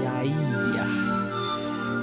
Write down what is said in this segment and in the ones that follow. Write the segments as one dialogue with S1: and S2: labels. S1: Jæja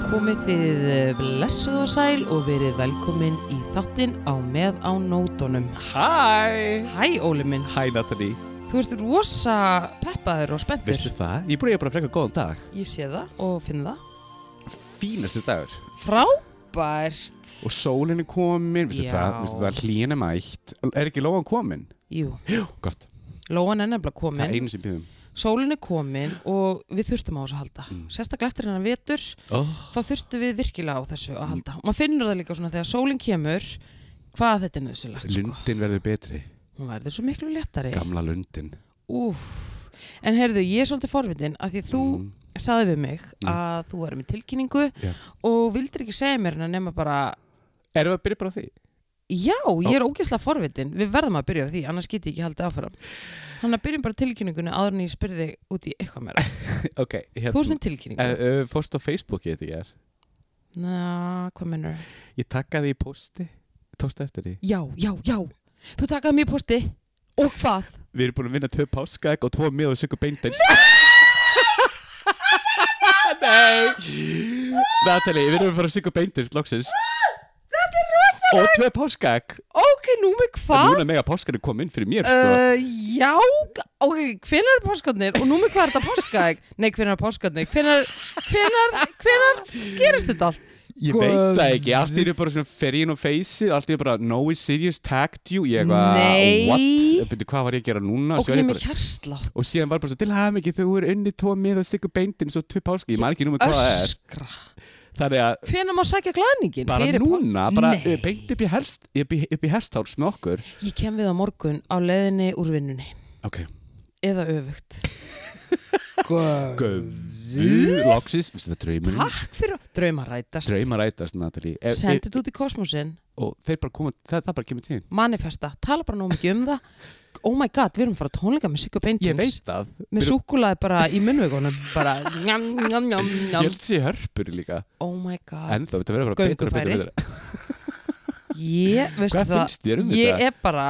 S1: Komið þið eh, blessuð og sæl og verið velkomin í þáttinn á með á nótunum
S2: Hæ
S1: Hæ Óli minn,
S2: Hæ Natalie
S1: þú ert rosa peppaður og spenntur
S2: Veistu það? Ég búið bara að freka góðan dag
S1: Ég sé það og finn það
S2: Fínasti dagur
S1: Frábært
S2: Og sólinn er komin, veistu
S1: Já.
S2: það? Veistu það, hlýin er mætt Er ekki lóan komin?
S1: Jú,
S2: Jú, gott
S1: lóan er nefnilega
S2: Það er
S1: komin
S2: einu sem býðum
S1: Sólin er komin og við þurftum á þessu að halda Sérstaklega eftir hennar vetur
S2: oh.
S1: þá þurftum við virkilega á þessu að halda og maður finnur það líka svona þegar sólinn kemur hvað þetta er nöðsulagt sko.
S2: Lundin verður betri
S1: hún verður svo miklu léttari
S2: Gamla lundin
S1: Úf. en heyrðu, ég er svolítið forvitin að því þú
S2: Mm.
S1: saði við mig
S2: Mm.
S1: að þú væri með tilkynningu
S2: Já.
S1: og vildir ekki segja mér en að nema bara
S2: Erum við að byrja bara á því?
S1: já, ég er ógeðslega forvitin við verðum að byrja á því, annars get ég ekki haldið áfram þannig að byrjum bara tilkynningunni áður en ég spyrði út í eitthvað meira
S2: Ok, hérna.
S1: þú er svona tilkynningu uh,
S2: uh, Fórst á Facebooki þetta ég er
S1: na, hvað mennur
S2: Ég takkaði í posti Tókstu eftir því
S1: já, já, já, þú takaði mér posti og hvað
S2: Við erum búin að vinna tvö páskaegg og tvo mjög og sykku beindins Nei Natalie, við erum að fara að sykku beindins loksins
S1: Þetta er rosalega
S2: Og tvö páskaegg
S1: Ok, nú með hvað?
S2: Núna mega páskarnir kom inn fyrir mér sko.
S1: Uh, já, ok, hvenær er páskarnir og nú með hvað er þetta páskaegg? Nei, hvenær er páskarnir? Hvenær, hvenær, hvenær gerist þetta allt?
S2: Ég veit það ekki, allt er bara svona fer ég inn á feysið Allt er bara, no is serious, tagged you Ég eitthvað,
S1: Nei.
S2: what? Byrju, hvað var ég að gera núna?
S1: Ok,
S2: Svo er
S1: ég er
S2: ég
S1: með
S2: bara,
S1: hjarslátt,
S2: og síðan var bara svona, til hafum ekki Þau eru unni tvo mjög og sykku beindins og tvö páskaegg Ég man ekki núna hvað það er
S1: öskra.
S2: Þannig að
S1: Hvenær má sækja glæningin?
S2: bara
S1: Fyrir pá-
S2: núna, bara eh,
S1: Nei.
S2: Nei. beint upp í, herst, upp, í, upp í herstáls með okkur
S1: Ég kem við á morgun á leiðinni úr vinnunni
S2: Ok,
S1: eða öfugt.
S2: göfu, loksis, vissi það draumurinn
S1: Takk fyrir að drauma rætast.
S2: Mm. Drauma eh, rætast, Natalie ef,
S1: Sendi þetta út í kosmosin,
S2: Og þeir bara koma, það, það bara kemur til
S1: manifesta, tala bara nú mikið um það. Oh my god, við erum að fara á tónleika með Sigga Beintins.
S2: Ég veit það,
S1: með súkkulaði bara í munnveikunum bara njam, njam, njam,
S2: ég
S1: njam.
S2: held sé hörpur líka
S1: oh my god
S2: En þá, þetta verður bara betur og betur,
S1: Göngufæri.
S2: og betur
S1: ég, veistu
S2: Hvað
S1: það
S2: finnst þér um
S1: ég
S2: þetta?
S1: er bara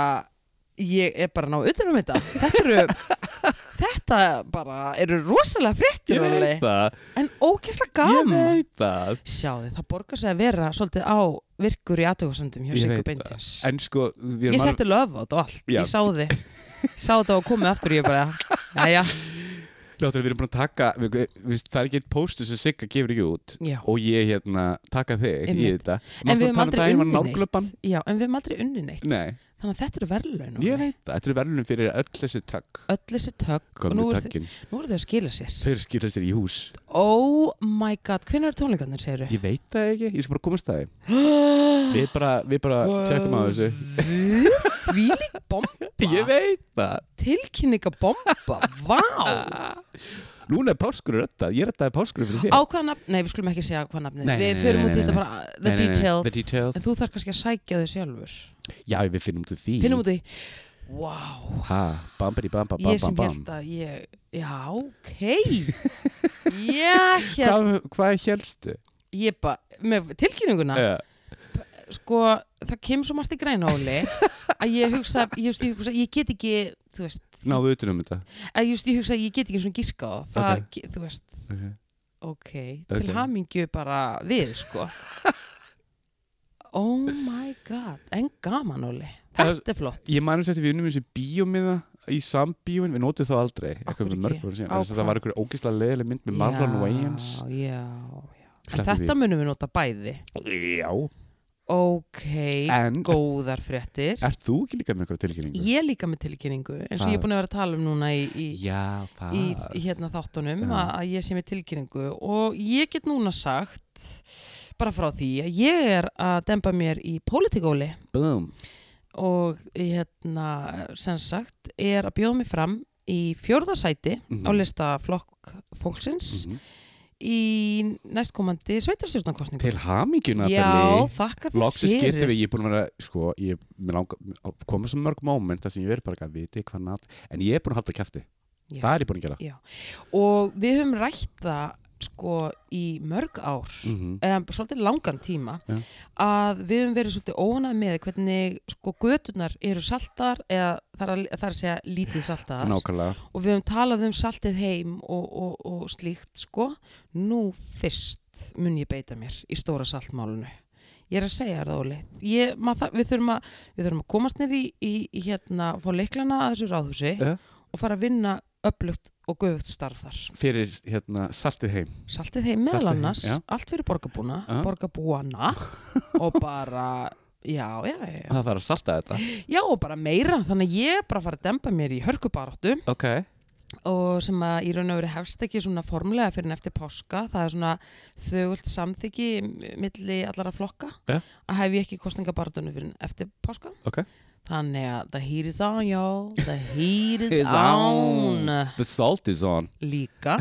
S1: ég er bara að ná utan um þetta þetta eru þetta bara eru rosalega fréttir
S2: Ég
S1: Óli.
S2: veit það,
S1: en ógeðslega
S2: ég
S1: gaman
S2: veit það
S1: sjáðu, það borgar sig að vera svolítið á virkur í aðtökusandum hjá
S2: Ég
S1: Siggu
S2: veit
S1: Beintins
S2: En sko, við
S1: ég
S2: erum
S1: setti löf á þetta og allt
S2: Já.
S1: ég sá þið sá þetta og komið aftur ég bara, já,
S2: Láttur, við erum búin að taka við, við, Það er ekki eitt póstur sem Sigga gefur ekki út
S1: já
S2: Og ég hérna, taka þig í
S1: Einmitt.
S2: þetta
S1: en við
S2: Manstu
S1: höfum
S2: að tala um
S1: aldrei
S2: daginn var
S1: unni
S2: nálglöpan?
S1: neitt já, en við höfum aldrei unni neitt
S2: Nei,
S1: Þannig að þetta eru verðlaun
S2: ég
S1: Óli.
S2: veit það, þetta eru verðlunum fyrir öll þessi tökk
S1: Öll þessi tögg og nú
S2: Komnu
S1: eru, þau,
S2: tökkin,
S1: nú eru þau að skila sér
S2: þau eru að skila sér í hús
S1: Oh my god, hvernig eru tónleikarnir, segir þau?
S2: Ég veit það ekki, ég skal bara komast það Við bara, við bara tjekkum á þessu
S1: Því lík bomba
S2: veit það
S1: Tilkynninga bomba, vá
S2: Núna er páskur röttað, ég röttaði páskur fyrir
S1: Á
S2: þér
S1: hvaða nafn, nei við skulum ekki segja hvað nafnið
S2: Nei,
S1: er.
S2: nei,
S1: Við
S2: nei,
S1: förum
S2: nei,
S1: út í
S2: nei,
S1: þetta
S2: nei.
S1: bara uh, The
S2: Nei, nei, nei,
S1: details
S2: the details.
S1: En þú þarf kannski að sækja þau sjálfur
S2: Já, við finnum út úr því
S1: Finnum út í Vá,
S2: Ha, bambari bamba, bam,
S1: ég sem
S2: bam, bam
S1: held að ég Já, ok Ég held
S2: Hvað, hvað helstu?
S1: Ég bara, með tilkynninguna
S2: Uh,
S1: sko, það kemur svo margt í græna óli að ég hugsa, ég, hugsa, ég, hugsa, ég get ekki þú veist,
S2: náðu utan um þetta
S1: að ég, hugsa, ég hugsa, ég get ekki svona gíska á það. það, okay. þú veist,
S2: okay.
S1: ok,
S2: Ok.
S1: til hamingju bara við, sko oh my god en gaman óli,
S2: Það-
S1: þetta er flott
S2: Ég manum sér eftir við unnum eins og bíómiða í sambíóin, við nótum það aldrei
S1: Akkur
S2: eitthvað fyrir
S1: ekki?
S2: mörg voru síðan,
S1: Á
S2: þess að það
S1: hvað?
S2: var eitthvað ógislega leðileg mynd með Marlon Wayans
S1: já, já, já. En
S2: Sleppum
S1: þetta munum við nota bæði
S2: því. Já,
S1: ok,
S2: en
S1: góðar fréttir
S2: ert þú ekki líka með eitthvað tilkynningu?
S1: ég er líka með tilkynningu eins og
S2: Það-
S1: ég er búin að vera að tala um núna í, í,
S2: Já, það
S1: í, í hérna þáttunum
S2: Ah. Já.
S1: að, að ég sé með tilkynningu og ég get núna sagt bara frá því að ég er að demba mér í pólitikóli
S2: Bum,
S1: og hérna sem sagt er að bjóða mig fram í fjórðasæti
S2: Mhm.
S1: á lista flokk fólksins
S2: Mhm.
S1: í næstkomandi sveitarstjórnarkostningu
S2: Til hamingju, Natalie
S1: Já, þakka þér
S2: Loksins
S1: fyrir
S2: getum við, ég er búin að vera, sko, ég mér langa, á- koma svo mörg moment þar sem ég verið bara ekki að viti hvað nátt, en ég er búin að halda kæfti.
S1: Já.
S2: Það er ég búin að gera.
S1: og við höfum rætt það sko í mörg ár
S2: mm -hmm.
S1: eða svolítið langan tíma
S2: Já.
S1: að við höfum verið svolítið ónað með hvernig sko göturnar eru saltar eða þar að, þar að segja lítið saltaðar
S2: nákvæmlega
S1: og við höfum talað um saltið heim og, og, og slíkt sko nú fyrst mun ég beita mér í stóra saltmálunu ég er að segja þér það Óli ég, maður þarf- við, þurfum að, við þurfum að komast nýr í, í, í hérna, fá leiklana að þessu ráðhúsi
S2: Já.
S1: og fara að vinna öflugt og guðvögt starf þar
S2: fyrir hérna saltið heim
S1: saltið heim meðal
S2: Saltið heim,
S1: annars
S2: já.
S1: allt fyrir borgarbúna,
S2: Já.
S1: borgarbúana og bara já, já, já,
S2: það þarf að salta þetta
S1: já og bara meira þannig að ég er bara að fara að dempa mér í hörkubaráttu
S2: ok
S1: og sem að í raun og veru hefst ekki svona formlega fyrir en eftir páska það er svona þögult samþyggi milli allara flokka
S2: Ja.
S1: að hef ég ekki kostningabarðunum fyrir en eftir páska
S2: Ok.
S1: þannig að the heat is on y'all the heat is
S2: Is on.
S1: on
S2: the salt is on
S1: líka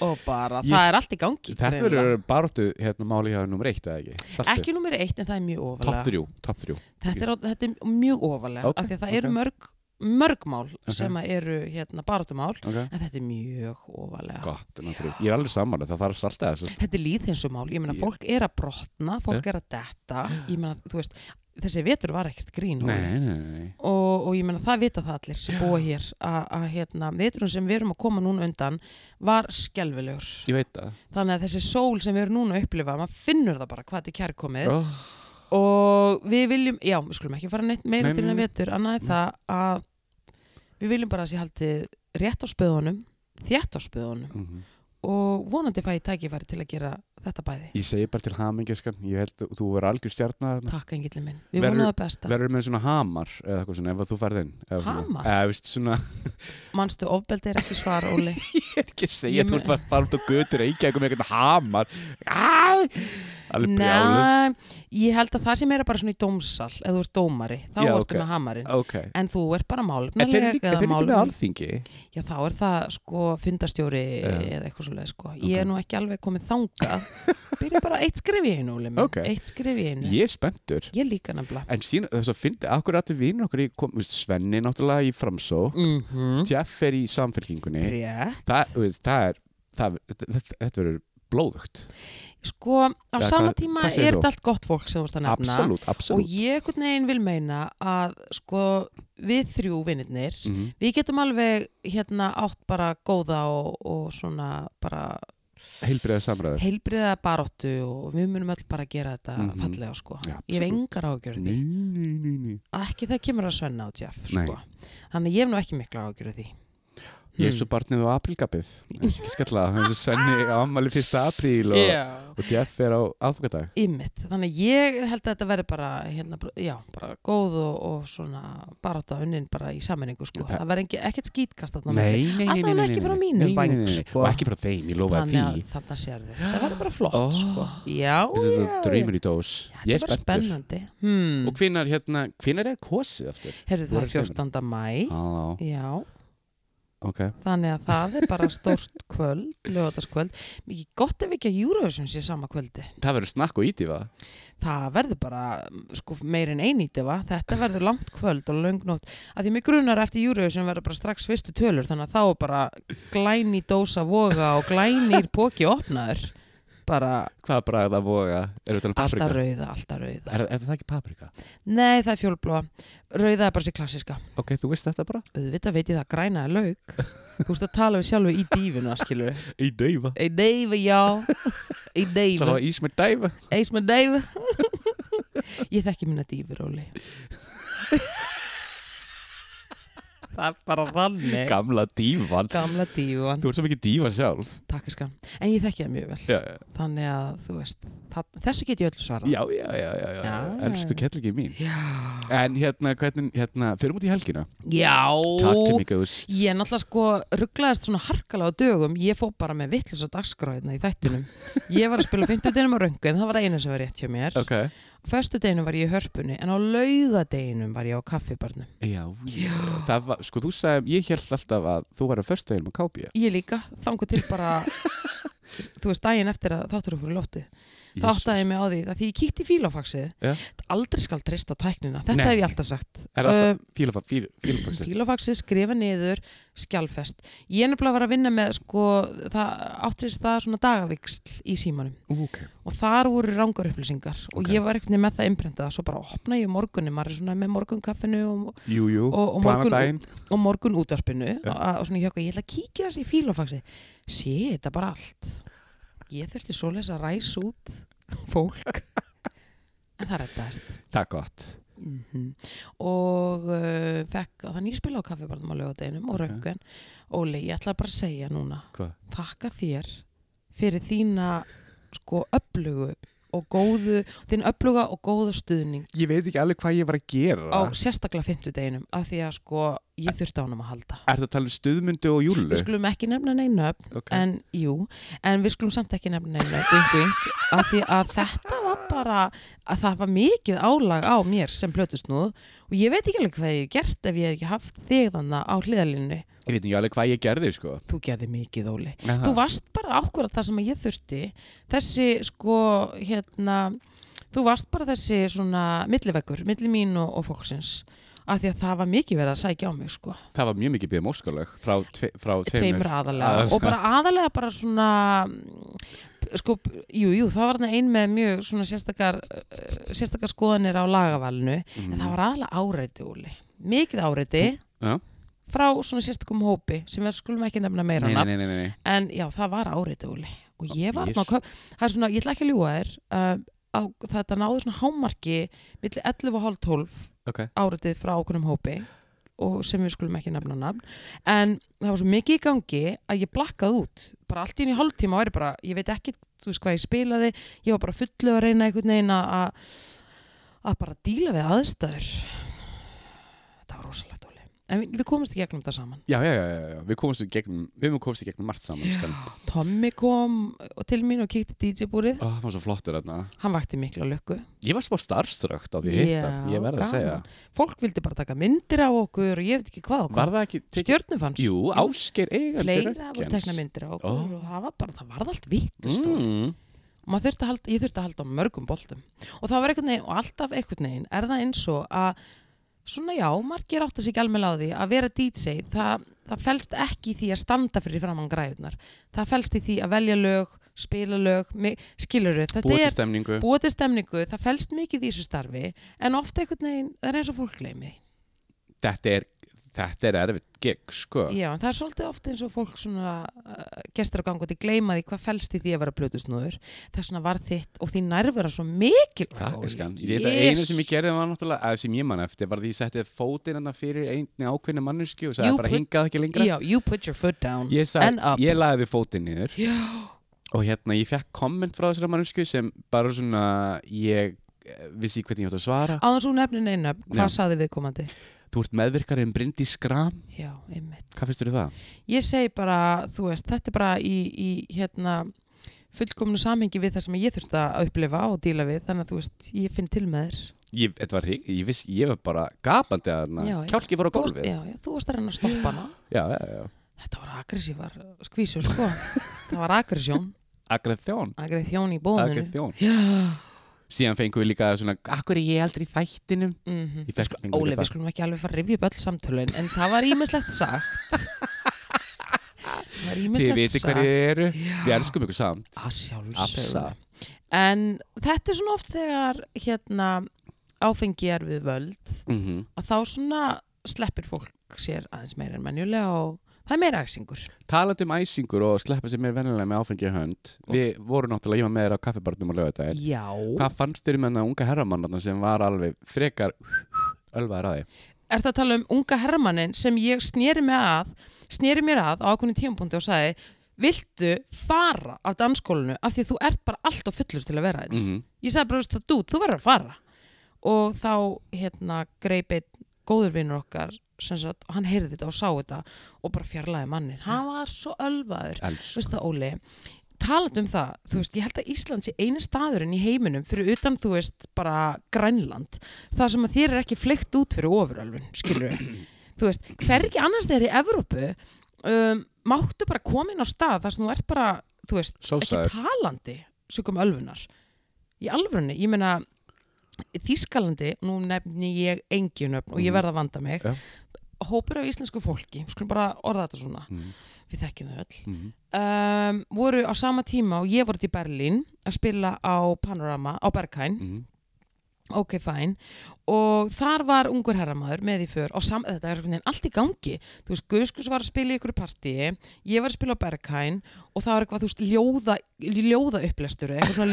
S1: og bara
S2: Ég
S1: það
S2: s-
S1: er allt í gangi
S2: þetta
S1: greinilega.
S2: verður baróttu hérna máli hjá nummer eitt eða ekki saltið
S1: ekki nummer eitt en það er mjög
S2: topp
S1: ofalega
S2: þrjú topp þrjú
S1: þetta er, á- þetta er mjög ofalega
S2: Ok,
S1: af því að það eru
S2: ok.
S1: mörg, mörg mál
S2: Ok.
S1: sem að eru hérna, barðumál
S2: ok
S1: en þetta er mjög ofalega
S2: gott nummer þrjú ég er alveg saman það þarf að salta þessu
S1: þetta er líðhensumál, ég meina
S2: Já.
S1: fólk er að brotna fólk
S2: Eh?
S1: er að detta, ég meina þú veist, þessi vetur var ekkert grín Óli.
S2: nei nei nei nei.
S1: og, og ég meina það vita það allir sem
S2: Já.
S1: búa hér að að, hérna, veturinn sem við erum að koma núna undan var skelfilegur,
S2: ég veit það
S1: þannig að þessi sól sem við erum núna að upplifa, maður finnur það bara hvað þetta er kærkomið
S2: oh,
S1: og við viljum, já, við skulum ekki fara neitt meira
S2: Nei,
S1: til
S2: nei,
S1: en
S2: Mm. nei.
S1: vetur, annað er það að við viljum bara að sé haldið rétt á spöðunum, þétt á spöðunum
S2: mm -hmm.
S1: og vonandi fæ ég tækifæri til að gera þetta bæði
S2: ég segi bara til hamingjöskan ég held að þú verður algjör stjarnar
S1: Takk engillin minn, við
S2: Verður-
S1: vonum það besta
S2: verður með svona hamar eða eitthvað svona ef að þú ferð inn eða svona-
S1: Hamar?
S2: eða veist svona
S1: Manstu, ofbeldi er ekki svar, Óli
S2: ég er ekki að
S1: Ég
S2: segja þú
S1: mun-
S2: ert bara að fara út á götur eða ekki með eitthvað hamar Æ! alveg brjálu
S1: Nei, ég held að það sé meira bara svona í dómsal ef þú ert dómari, þá
S2: Já,
S1: ertu
S2: ok.
S1: með hamarinn
S2: ok
S1: En þú ert bara
S2: En þeir eru
S1: málefnaleg
S2: líka, þeir eru líka með alþingi
S1: Já, þá er það sko fundastjóri
S2: Já.
S1: eða eitthvað svoleið sko Ég er nú ekki alveg komið þangað Byrja bara eitt skrif í einu, Óli minn
S2: Ok.
S1: Eitt skrif í einu
S2: Ég er spenntur
S1: Ég líka nefnilega
S2: En síðan þess að fyndi Akkur að þið vinur okkur í kom, veist, Svenni náttúrulega í framsó
S1: mm
S2: Jeff er í samfélkingunni
S1: Rétt
S2: það, þú veist, það er það, þetta- þetta- Þetta verður blóðugt
S1: Sko, á
S2: Já,
S1: sama
S2: hvað-
S1: tíma
S2: hvað segir
S1: er
S2: þú?
S1: þetta allt gott fólk sem þú ert að nefna
S2: Absolutt,
S1: og
S2: absolutt
S1: ég einhvern veginn vil meina að sko við þrjú vinnirnir
S2: Mhm.
S1: við getum alveg hérna átt bara góða og, og svona bara
S2: Heilbriða samræður
S1: heilbriða baróttu og við munum öll bara gera þetta
S2: Mhm.
S1: fallega sko
S2: Ja,
S1: ég hef
S2: absolutt.
S1: engar ágjörði
S2: Ný,
S1: því
S2: ný, ný, ný
S1: ekki það kemur að svenna á Jeff
S2: Nei.
S1: sko. þannig að ég hef nú ekki mikla ágjörði því Hmm.
S2: Ég er svo barnið á aprílgapið Það er ekki skalla Þannig að Svenni á ammali fyrsta apríl og,
S1: yeah.
S2: og Jeff er á aðfokadag
S1: Ímitt, þannig að ég held að þetta verði bara, hérna, bara- já, bara góð og, og svona barátta unnin bara í sammenningu sko.
S2: Það-
S1: Það verði ekki- ekkert skítkast þarna á milli.
S2: Nei, nei, nei, nei,
S1: Allavega
S2: nei,
S1: ekki
S2: nei,
S1: frá
S2: nei.
S1: mínum
S2: Nei, nei,
S1: bæng,
S2: nei, nei.
S1: sko.
S2: Og ekki frá þeim, ég lofaði
S1: þannig að
S2: því
S1: þarna sér þið það verður bara flott
S2: Oh.
S1: sko. já,
S2: Þetta er
S1: já,
S2: þetta draumur í dós
S1: já. þetta
S2: Ég er
S1: verður
S2: spenntur
S1: spennandi
S2: Og
S1: hmm.
S2: hvinnar, hérna, hvinnar er kosið aftur?
S1: herðu
S2: Þú
S1: það
S2: verður
S1: er 14. mæ
S2: Á,
S1: já,
S2: ok
S1: þannig að það er bara stórt kvöld lögataskvöld, mikið gott ef ekki að Eurovision sé sama kvöldi
S2: Það verður snakk og ítífa
S1: það verður bara mm, sko, meir en einýti va? þetta verður langt kvöld og löngnótt að því mig grunar eftir Eurovision verður bara strax fyrstu tölur þannig að þá er bara glæni dósa voga og glænir póki opnaður bara
S2: Hvað bragð að voga? Er þetta paprika?
S1: alltaf rauða, alltaf rauða
S2: Er, er það ekki paprika?
S1: Nei, það er fjólblóa. Rauða er bara sér klassiska.
S2: Ok, þú veist þetta bara?
S1: Auðvitað veit ég það græna er lauk. Þú veist að tala við sjálfu í dífinu, skilur.
S2: Í dæfa
S1: Ei deyfi, já. Ei
S2: Það
S1: deyfi.
S2: var ís með dæfa
S1: Eis með deyfi. Ég þekki minna dífur, Óli. það er bara þannig.
S2: Gamla dífan
S1: Gamla dífan.
S2: Þú ert svo mikið dífa sjálf
S1: Takkiskan. En ég þekki það mjög vel.
S2: Já, já,
S1: Þannig að, þú veist, það, þessu get ég öllu svarað.
S2: já, já, já, já, já.
S1: Já.
S2: Elsku kettlingi mín
S1: Já.
S2: En hérna, hvernig, hérna, fyrir múti í helgina Takk til
S1: Já.
S2: mig, Gauss
S1: Ég náttúrulega sko rugglaðist svona harkalega á dögum, ég fó bara með vittlust á dagskráðina í þættinum. Ég var að spila 50 deginum á röngu en það var það eina sem var rétt hjá mér.
S2: Ok
S1: Föstu deginum var ég í hörpunni en á laugadeginum var ég á kaffibarnum.
S2: Já, já. Það var, sko, þú sagði, ég held alltaf að þú var að föstudeginum að kápja
S1: Ég líka, þangu til bara þú veist, daginn eftir að þáttur að fóru loftið þá
S2: Jesus.
S1: áttaði ég mig á því að því ég kíkti í fílafaxið
S2: Já.
S1: aldrei skal treysta á tæknina, þetta
S2: Nei.
S1: hef ég alltaf sagt
S2: Er það
S1: um,
S2: alltaf fílafa, fílafaxið?
S1: fílafaxið skrifa niður skjálfest ég er nefnilega að vera að vinna með sko, það áttist það svona dagaviksl í símanum
S2: Ok,
S1: og þar voru rángar upplýsingar og
S2: Ok.
S1: ég var ekkert með það innprentað svo bara opna ég morgunni, maður er svona með morgunkaffinu og,
S2: jú, jú,
S1: Og- og
S2: plana
S1: morgun-
S2: daginn
S1: og morgun útarpinu
S2: Já.
S1: og, og svona ég hjóka, ég ætla að kíkja þessi í fílafaxi sé þetta bara allt ég þurfti svoleiðis að ræsa út fólk en það rettaðist
S2: Það er gott
S1: mm og uh, fekk að þannig ég spila á kaffibarnum á lögadeginum og
S2: Ok.
S1: okay. röngan Óli, ég ætla bara að segja núna
S2: Hvað?
S1: þakka þér fyrir þína sko öflugu og góðu þín öfluga og góða stuðning
S2: Ég veit ekki alveg hvað ég var að gera
S1: á sérstaklega fimmtudeginum af því að sko ég þurfti á hannum að halda
S2: Er það að tala um stuðmundu og júlu?
S1: við skulum ekki nefna neina upp
S2: Ok.
S1: Sko, en jú, en við skulum samt ekki nefna neina wink, wink, af því að þetta var bara að það var mikið álag á mér sem plötusnúð og ég veit ekki alveg hvað ég hef gert ef ég hef ekki haft þig þannig á hliðalínu
S2: Ég veit ekki alveg hvað ég gerði, sko
S1: þú gerði mikið óli
S2: Aha.
S1: þú varst bara ákvörð það sem ég þurfti þessi sko hérna þú varst bara þessi svona milliveggur, milli mín og, og fólksins af því að það var mikið verið að sækja á mig sko
S2: Það var mjög mikið bíða mórskálaug frá, tve, frá tveimur
S1: tveimur aðalega
S2: Aðalega.
S1: og bara aðalega bara svona mm, sko, jú, jú, það var þarna ein með mjög svona sérstakar uh, sérstakar skoðanir á lagavalinu
S2: Mhm.
S1: en það var aðalega áreiti, Úli mikið áreiti
S2: Já.
S1: frá svona sérstakum hópi sem við skulum ekki nefna meira
S2: Nei,
S1: nafn.
S2: nei, nei, nei, nei.
S1: en já, það var áreiti, Úli og ég var
S2: Ó,
S1: þarna á köp- það er svona, ég ætla ekki að ljúga þér uh, á, þetta náði svona hámarki milli 11 og hálf 12
S2: Ok,
S1: áritið frá ákveðnum hópi og sem við skulum ekki nefna nafn en það var svo mikið í gangi að ég blakkaði út, bara allt í einu í hálftíma væri bara, ég veit ekki, þú veist hvað ég spilaði ég var bara fullu að reyna einhvern veginn að að að bara díla við aðstæður þetta var rosalegt óli en við, við komumst í gegnum þetta saman
S2: já, já, já, já, já. Við komumst í gegnum, við höfum komist í gegnum margt saman skan.
S1: Tommy kom og til mín og kíkti DJ-búrið
S2: Ó, það var svo flottur þarna
S1: hann vakti mikla lukku
S2: Ég var smá starfströkt á því að hitta hann,
S1: Já,
S2: Ég verð að segja
S1: gaman. fólk vildi bara taka myndir af okkur og ég veit ekki hvað
S2: Var
S1: okkur
S2: það ekki tekið?
S1: stjörnum fannst
S2: Jú, Ásgeir eigandi
S1: fleira voru tekna myndir á okkur
S2: Ó.
S1: og það var bara, það varð allt vittust mm.
S2: mm,
S1: og maður þurfti að halda, ég þurfti að halda á mörgum boltum og það var einhvern veginn, og alltaf einhvern veginn er það eins og að svona já, margir átt að sig alveg á því að vera DJ, það, það felst ekki í því að standa fyrir framann græðunar það felst í því að velja lög, spila lög skilur þau, þetta
S2: Búið til
S1: er
S2: stemningu
S1: búið til stemningu, það felst mikið í þessu starfi en ofta einhvern veginn, það er eins og fólk gleymi því.
S2: Þetta er, þetta er erfitt gig, sko
S1: Já, en það er svolítið oft eins og fólk svona uh, gestur á gangu til gleyma því hvað felst í því að vera plötusnúður þess vegna var þitt og því nærvera svo mikil
S2: Takk, skan Ég veit að einu sem ég gerði var náttúrulega, eða sem ég man eftir var því ég setti fótinn hann fyrir einni ákveðni mannuski og sagði
S1: You
S2: bara
S1: put-
S2: hingað ekki lengra
S1: Já, you put your foot down
S2: Ég,
S1: And up.
S2: sagði, ég lagði fótinn niður
S1: Já,
S2: og hérna ég fekk komment frá þessari mannsku sem bara svona ég eh, vissi ekki hvernig ég átt að svara
S1: áðan svo nefnin einu
S2: Já.
S1: hvað sagði viðkomandi?
S2: þú ert meðvirkari um Bryndi Skram
S1: Já, einmitt
S2: hvað finnst þér um það?
S1: Ég segi bara, þú veist, þetta er bara í, í hérna fullkomnu samhengi við það sem ég þurfti að upplifa og díla við, þannig að þú veist, ég finn til með þér
S2: Ég, þetta var, hrig- ég, viss, ég var bara gapandi að
S1: Já,
S2: hana
S1: já.
S2: kjálki fór á
S1: Þú varst-
S2: gólfið já,
S1: Já, já, þú varst að reyna að stoppa hana
S2: já, já.
S1: Þetta var agressívar skvísu, sko Það var agressjón
S2: agressjón
S1: agressjón í bóðinu
S2: agressjón
S1: Já
S2: síðan fengum við líka svona akkur er ég aldrei í þættinum
S1: Mhm.
S2: Ég fekk fingurinn
S1: Óli,
S2: í það.
S1: við skulum ekki alveg fara að rifja upp öll samtölun en það var ímislegt sagt Það var
S2: þið
S1: ímislegt
S2: viti
S1: sagt
S2: hverju þið eru
S1: Já.
S2: við elskum ykkur samt
S1: Að
S2: Absa.
S1: sjálfsögðu En þetta er svona oft þegar hérna áfengi er við völd
S2: mm
S1: að þá svona sleppir fólk sér aðeins meira en mennjulega og það er meira æsingur
S2: talandi um æsingur og sleppa sér mér vennilega með áfengi í hönd við vorum náttúrulega, ég var með þér á kaffibarnum og lögðu
S1: Já
S2: Hvað fannst þér um hennar unga herramann sem var alveg frekar ölvaður að þig?
S1: er það að tala um unga hermannin sem ég sneri mig að sneri mér að á ákveðinu tímapunkti og sagði viltu fara af dansskólinu af því að þú ert bara allt og fullur til að vera þetta
S2: Mm -hmm.
S1: ég sagði bara, veist það, dút, þú verður að fara og þá, hérna, greip einn góður vinnur okkar sem sagt, og hann heyrði þetta og sá þetta og bara fjarlæði mannin, hann var svo ölvaður Þú
S2: Elsku.
S1: veist það Óli talat um það, þú veist, ég held að Ísland sé eini staðurinn í heiminum fyrir utan, þú veist, bara Grænland það sem að þér er ekki fleikt út fyrir ofurölfun, skilur þú veist, hvergi annars þegar í Evrópu um, máttu bara komin á stað þar sem þú ert bara þú veist,
S2: Sósaður.
S1: ekki talandi sögum ölfunar í alvörunni, ég meina Þískalandi, nú nefni ég engin öfn og ég
S2: Mhm.
S1: verð að vanda mig
S2: Já.
S1: hópur af íslensku fólki, við skulum bara orða þetta svona,
S2: Mm,
S1: við þekkjum þau öll
S2: mm,
S1: um, voru á sama tíma og ég voru til Berlín að spila á Panorama á Berghain
S2: mm,
S1: ok fine og þar var ungur herramaður með í för og sam, þetta er einhvern veginn allt í gangi þú veist, Guðskus var að spila í ykkur partíi ég var að spila á Berghain og það var eitthvað, þú veist, ljóða, ljóða upplestur eitthvað svona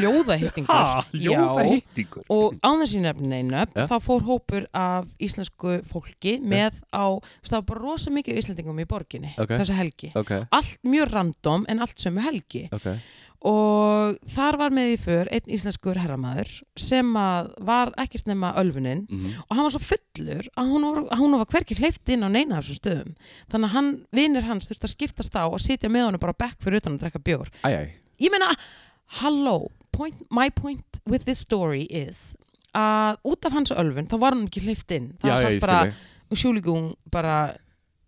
S1: ljóðahittingur
S2: Ha,
S1: Já.
S2: ljóðahittingur
S1: og án þessi nefni neinu
S2: Ja.
S1: þá fór hópur af íslensku fólki með á, þú veist, það var bara rosa mikið af íslendingum í borginni
S2: Ok.
S1: þessa helgi
S2: ok,
S1: allt mjög random en allt sömu helgi
S2: ok
S1: og þar var með í för einn íslenskur herramaður sem að var ekkert nema ölfunin
S2: mm,
S1: og hann var svo fullur að hún var, að hún var hverki hleyft inn á neina af þessum stöðum þannig að hann, vinnir hans þurfti að skiptast á og sitja með honum bara á bekk fyrir utan að drekka bjór
S2: æj, æj,
S1: ég meina, halló point, my point with this story is að út af hans ölfun þá var hann ekki hleyft inn það
S2: já, já,
S1: var sagt
S2: ég
S1: bara,
S2: skilji
S1: sjúlíkung bara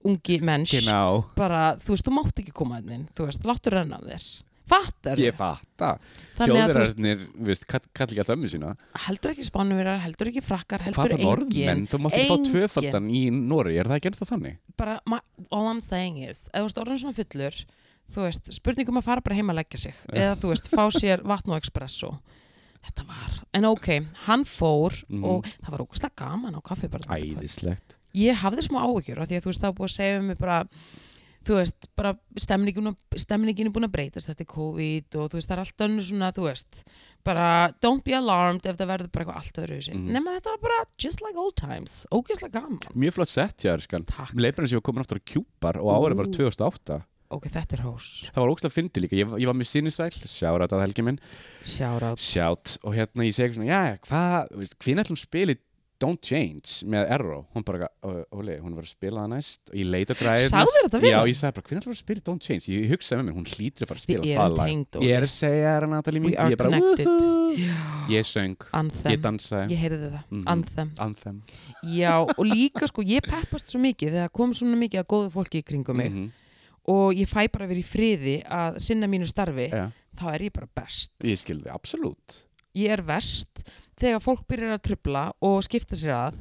S1: ungi menns
S2: kynna
S1: bara, þú veist, þú mátt ekki koma þinn þú veist, láttu renna af þér fattar
S2: ég fatta,
S1: þannig að þú veist,
S2: þjóðverðarnir veist, kall kall ekki alltaf ömmu sína
S1: heldur ekki spánumverjar, heldur ekki frakkar heldur
S2: fatta norðmenn,
S1: engin
S2: þú mátt ekki fá
S1: Engin.
S2: tvöfaldan í Nóri, er það ekki ennþá þannig?
S1: bara, ma- all I'm saying is ef þú ert orðin svona fullur þú veist, spurningum að fara bara heim að leggja sig eða þú veist, fá sér vatn og espresso þetta var, en ok hann fór
S2: Mhm.
S1: og það var ógustlega gaman á kaffibarnum
S2: æðislegt
S1: ég hafði smá áhugjur af því að þú veist, það var búið að segja um mig bara þú veist, bara stemningin, stemningin er búin að breytast þetta er COVID og þú veist, það er allt önnur svona, þú veist bara, don't be alarmed ef það verður bara eitthvað allt öðru
S2: Mhm.
S1: nema þetta var bara, just like old times ógeðslega gaman
S2: mjög flott sett, já, skan
S1: Takk.
S2: leifurinn sem ég var komin aftur á kjúpar og árið var
S1: Ú.
S2: 2008
S1: ok, þetta er hós,
S2: það var ógstlega fyndi líka, ég, ég var mjög sinisæl sjára þetta helgi minn,
S1: sjára
S2: sjátt og hérna ég segi svona, já, hvað hvina ætlum spili Don't Change með Erró, hún bara, "Ó, Óli, hún var að spila það næst og ég leit og græði
S1: Sagðu þér þetta við?
S2: Já, ég sagði bara, hvernig ætlum að spila Don't Change? Ég hugsaði með mér, hún hlýtur að fara að spila
S1: Við
S2: það
S1: erum
S2: lag.
S1: tengd, Óli.
S2: Ég er að segja þér, Natalie mín
S1: We are
S2: Ég bara,
S1: connected.
S2: "Woohoo!"
S1: Já.
S2: Ég söng,
S1: Anthem,
S2: ég dansaði
S1: ég heyrði það,
S2: Mhm.
S1: anthem
S2: Anthem
S1: Já, og líka sko, ég peppast svo mikið þegar kom svona mikið að góðu fólki í kringum mig
S2: Mhm,
S1: og ég fæ bara verið í friði að sinna mínu starfi,
S2: já.
S1: þá er ég bara best
S2: Ég skilði, absolutt
S1: Ég er verst þegar fólk byrjar að trubla og skipta sér að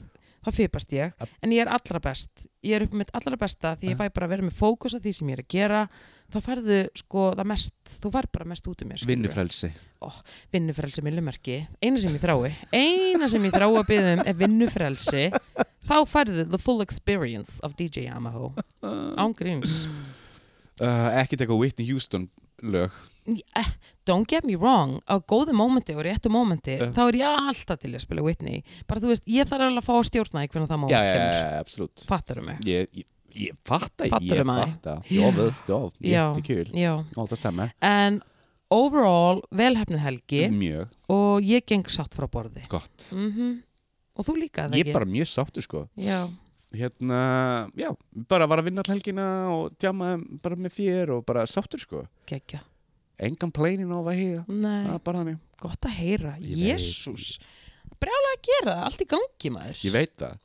S1: þá fipast ég,
S2: Ab-
S1: en ég er allra best ég er upp með allra besta því ég fæ bara að vera með fókus að því sem ég er að gera þá færðu sko það mest þú færð bara mest út um mér skilurðu.
S2: Vinnufrelsi
S1: vinnufrelsi millumerki, eina sem ég þrái eina sem ég þrái að byggja um er vinnufrelsi þá færðu the full experience of DJ Yamaha án gríns
S2: uh, Ekki teka Whitney Houston lög
S1: Eh, don't get me wrong, á góðu mómenti og réttu mómenti,
S2: Eh.
S1: þá er ég alltaf til að spila Whitney, bara þú veist, ég þarf alveg að fá að stjórna í hvernig það
S2: Já,
S1: móment
S2: já,
S1: kemur,
S2: já, absolutt
S1: fattar mig
S2: Ég, ég, ég fatta,
S1: Fattarðu
S2: ég
S1: mig?
S2: fatta
S1: Já.
S2: Jófið, jóf,
S1: Já.
S2: jättekul
S1: Já,
S2: Ó, það stemmer
S1: en overall velhefnið helgi
S2: Mjög
S1: og ég geng satt frá borði
S2: gott
S1: mm og þú líka er það
S2: Ég
S1: ekki
S2: er bara mjög sáttur sko
S1: Já,
S2: hérna, já, bara var að vinna all helgina og djama bara með þér og bara sáttur sko
S1: geggja,
S2: engan plænin á að hýða
S1: nei
S2: bara þannig,
S1: gott að heyra,
S2: Ah. Ég veit.
S1: jésús brjálega að gera það, allt í gangi maður
S2: ég veit það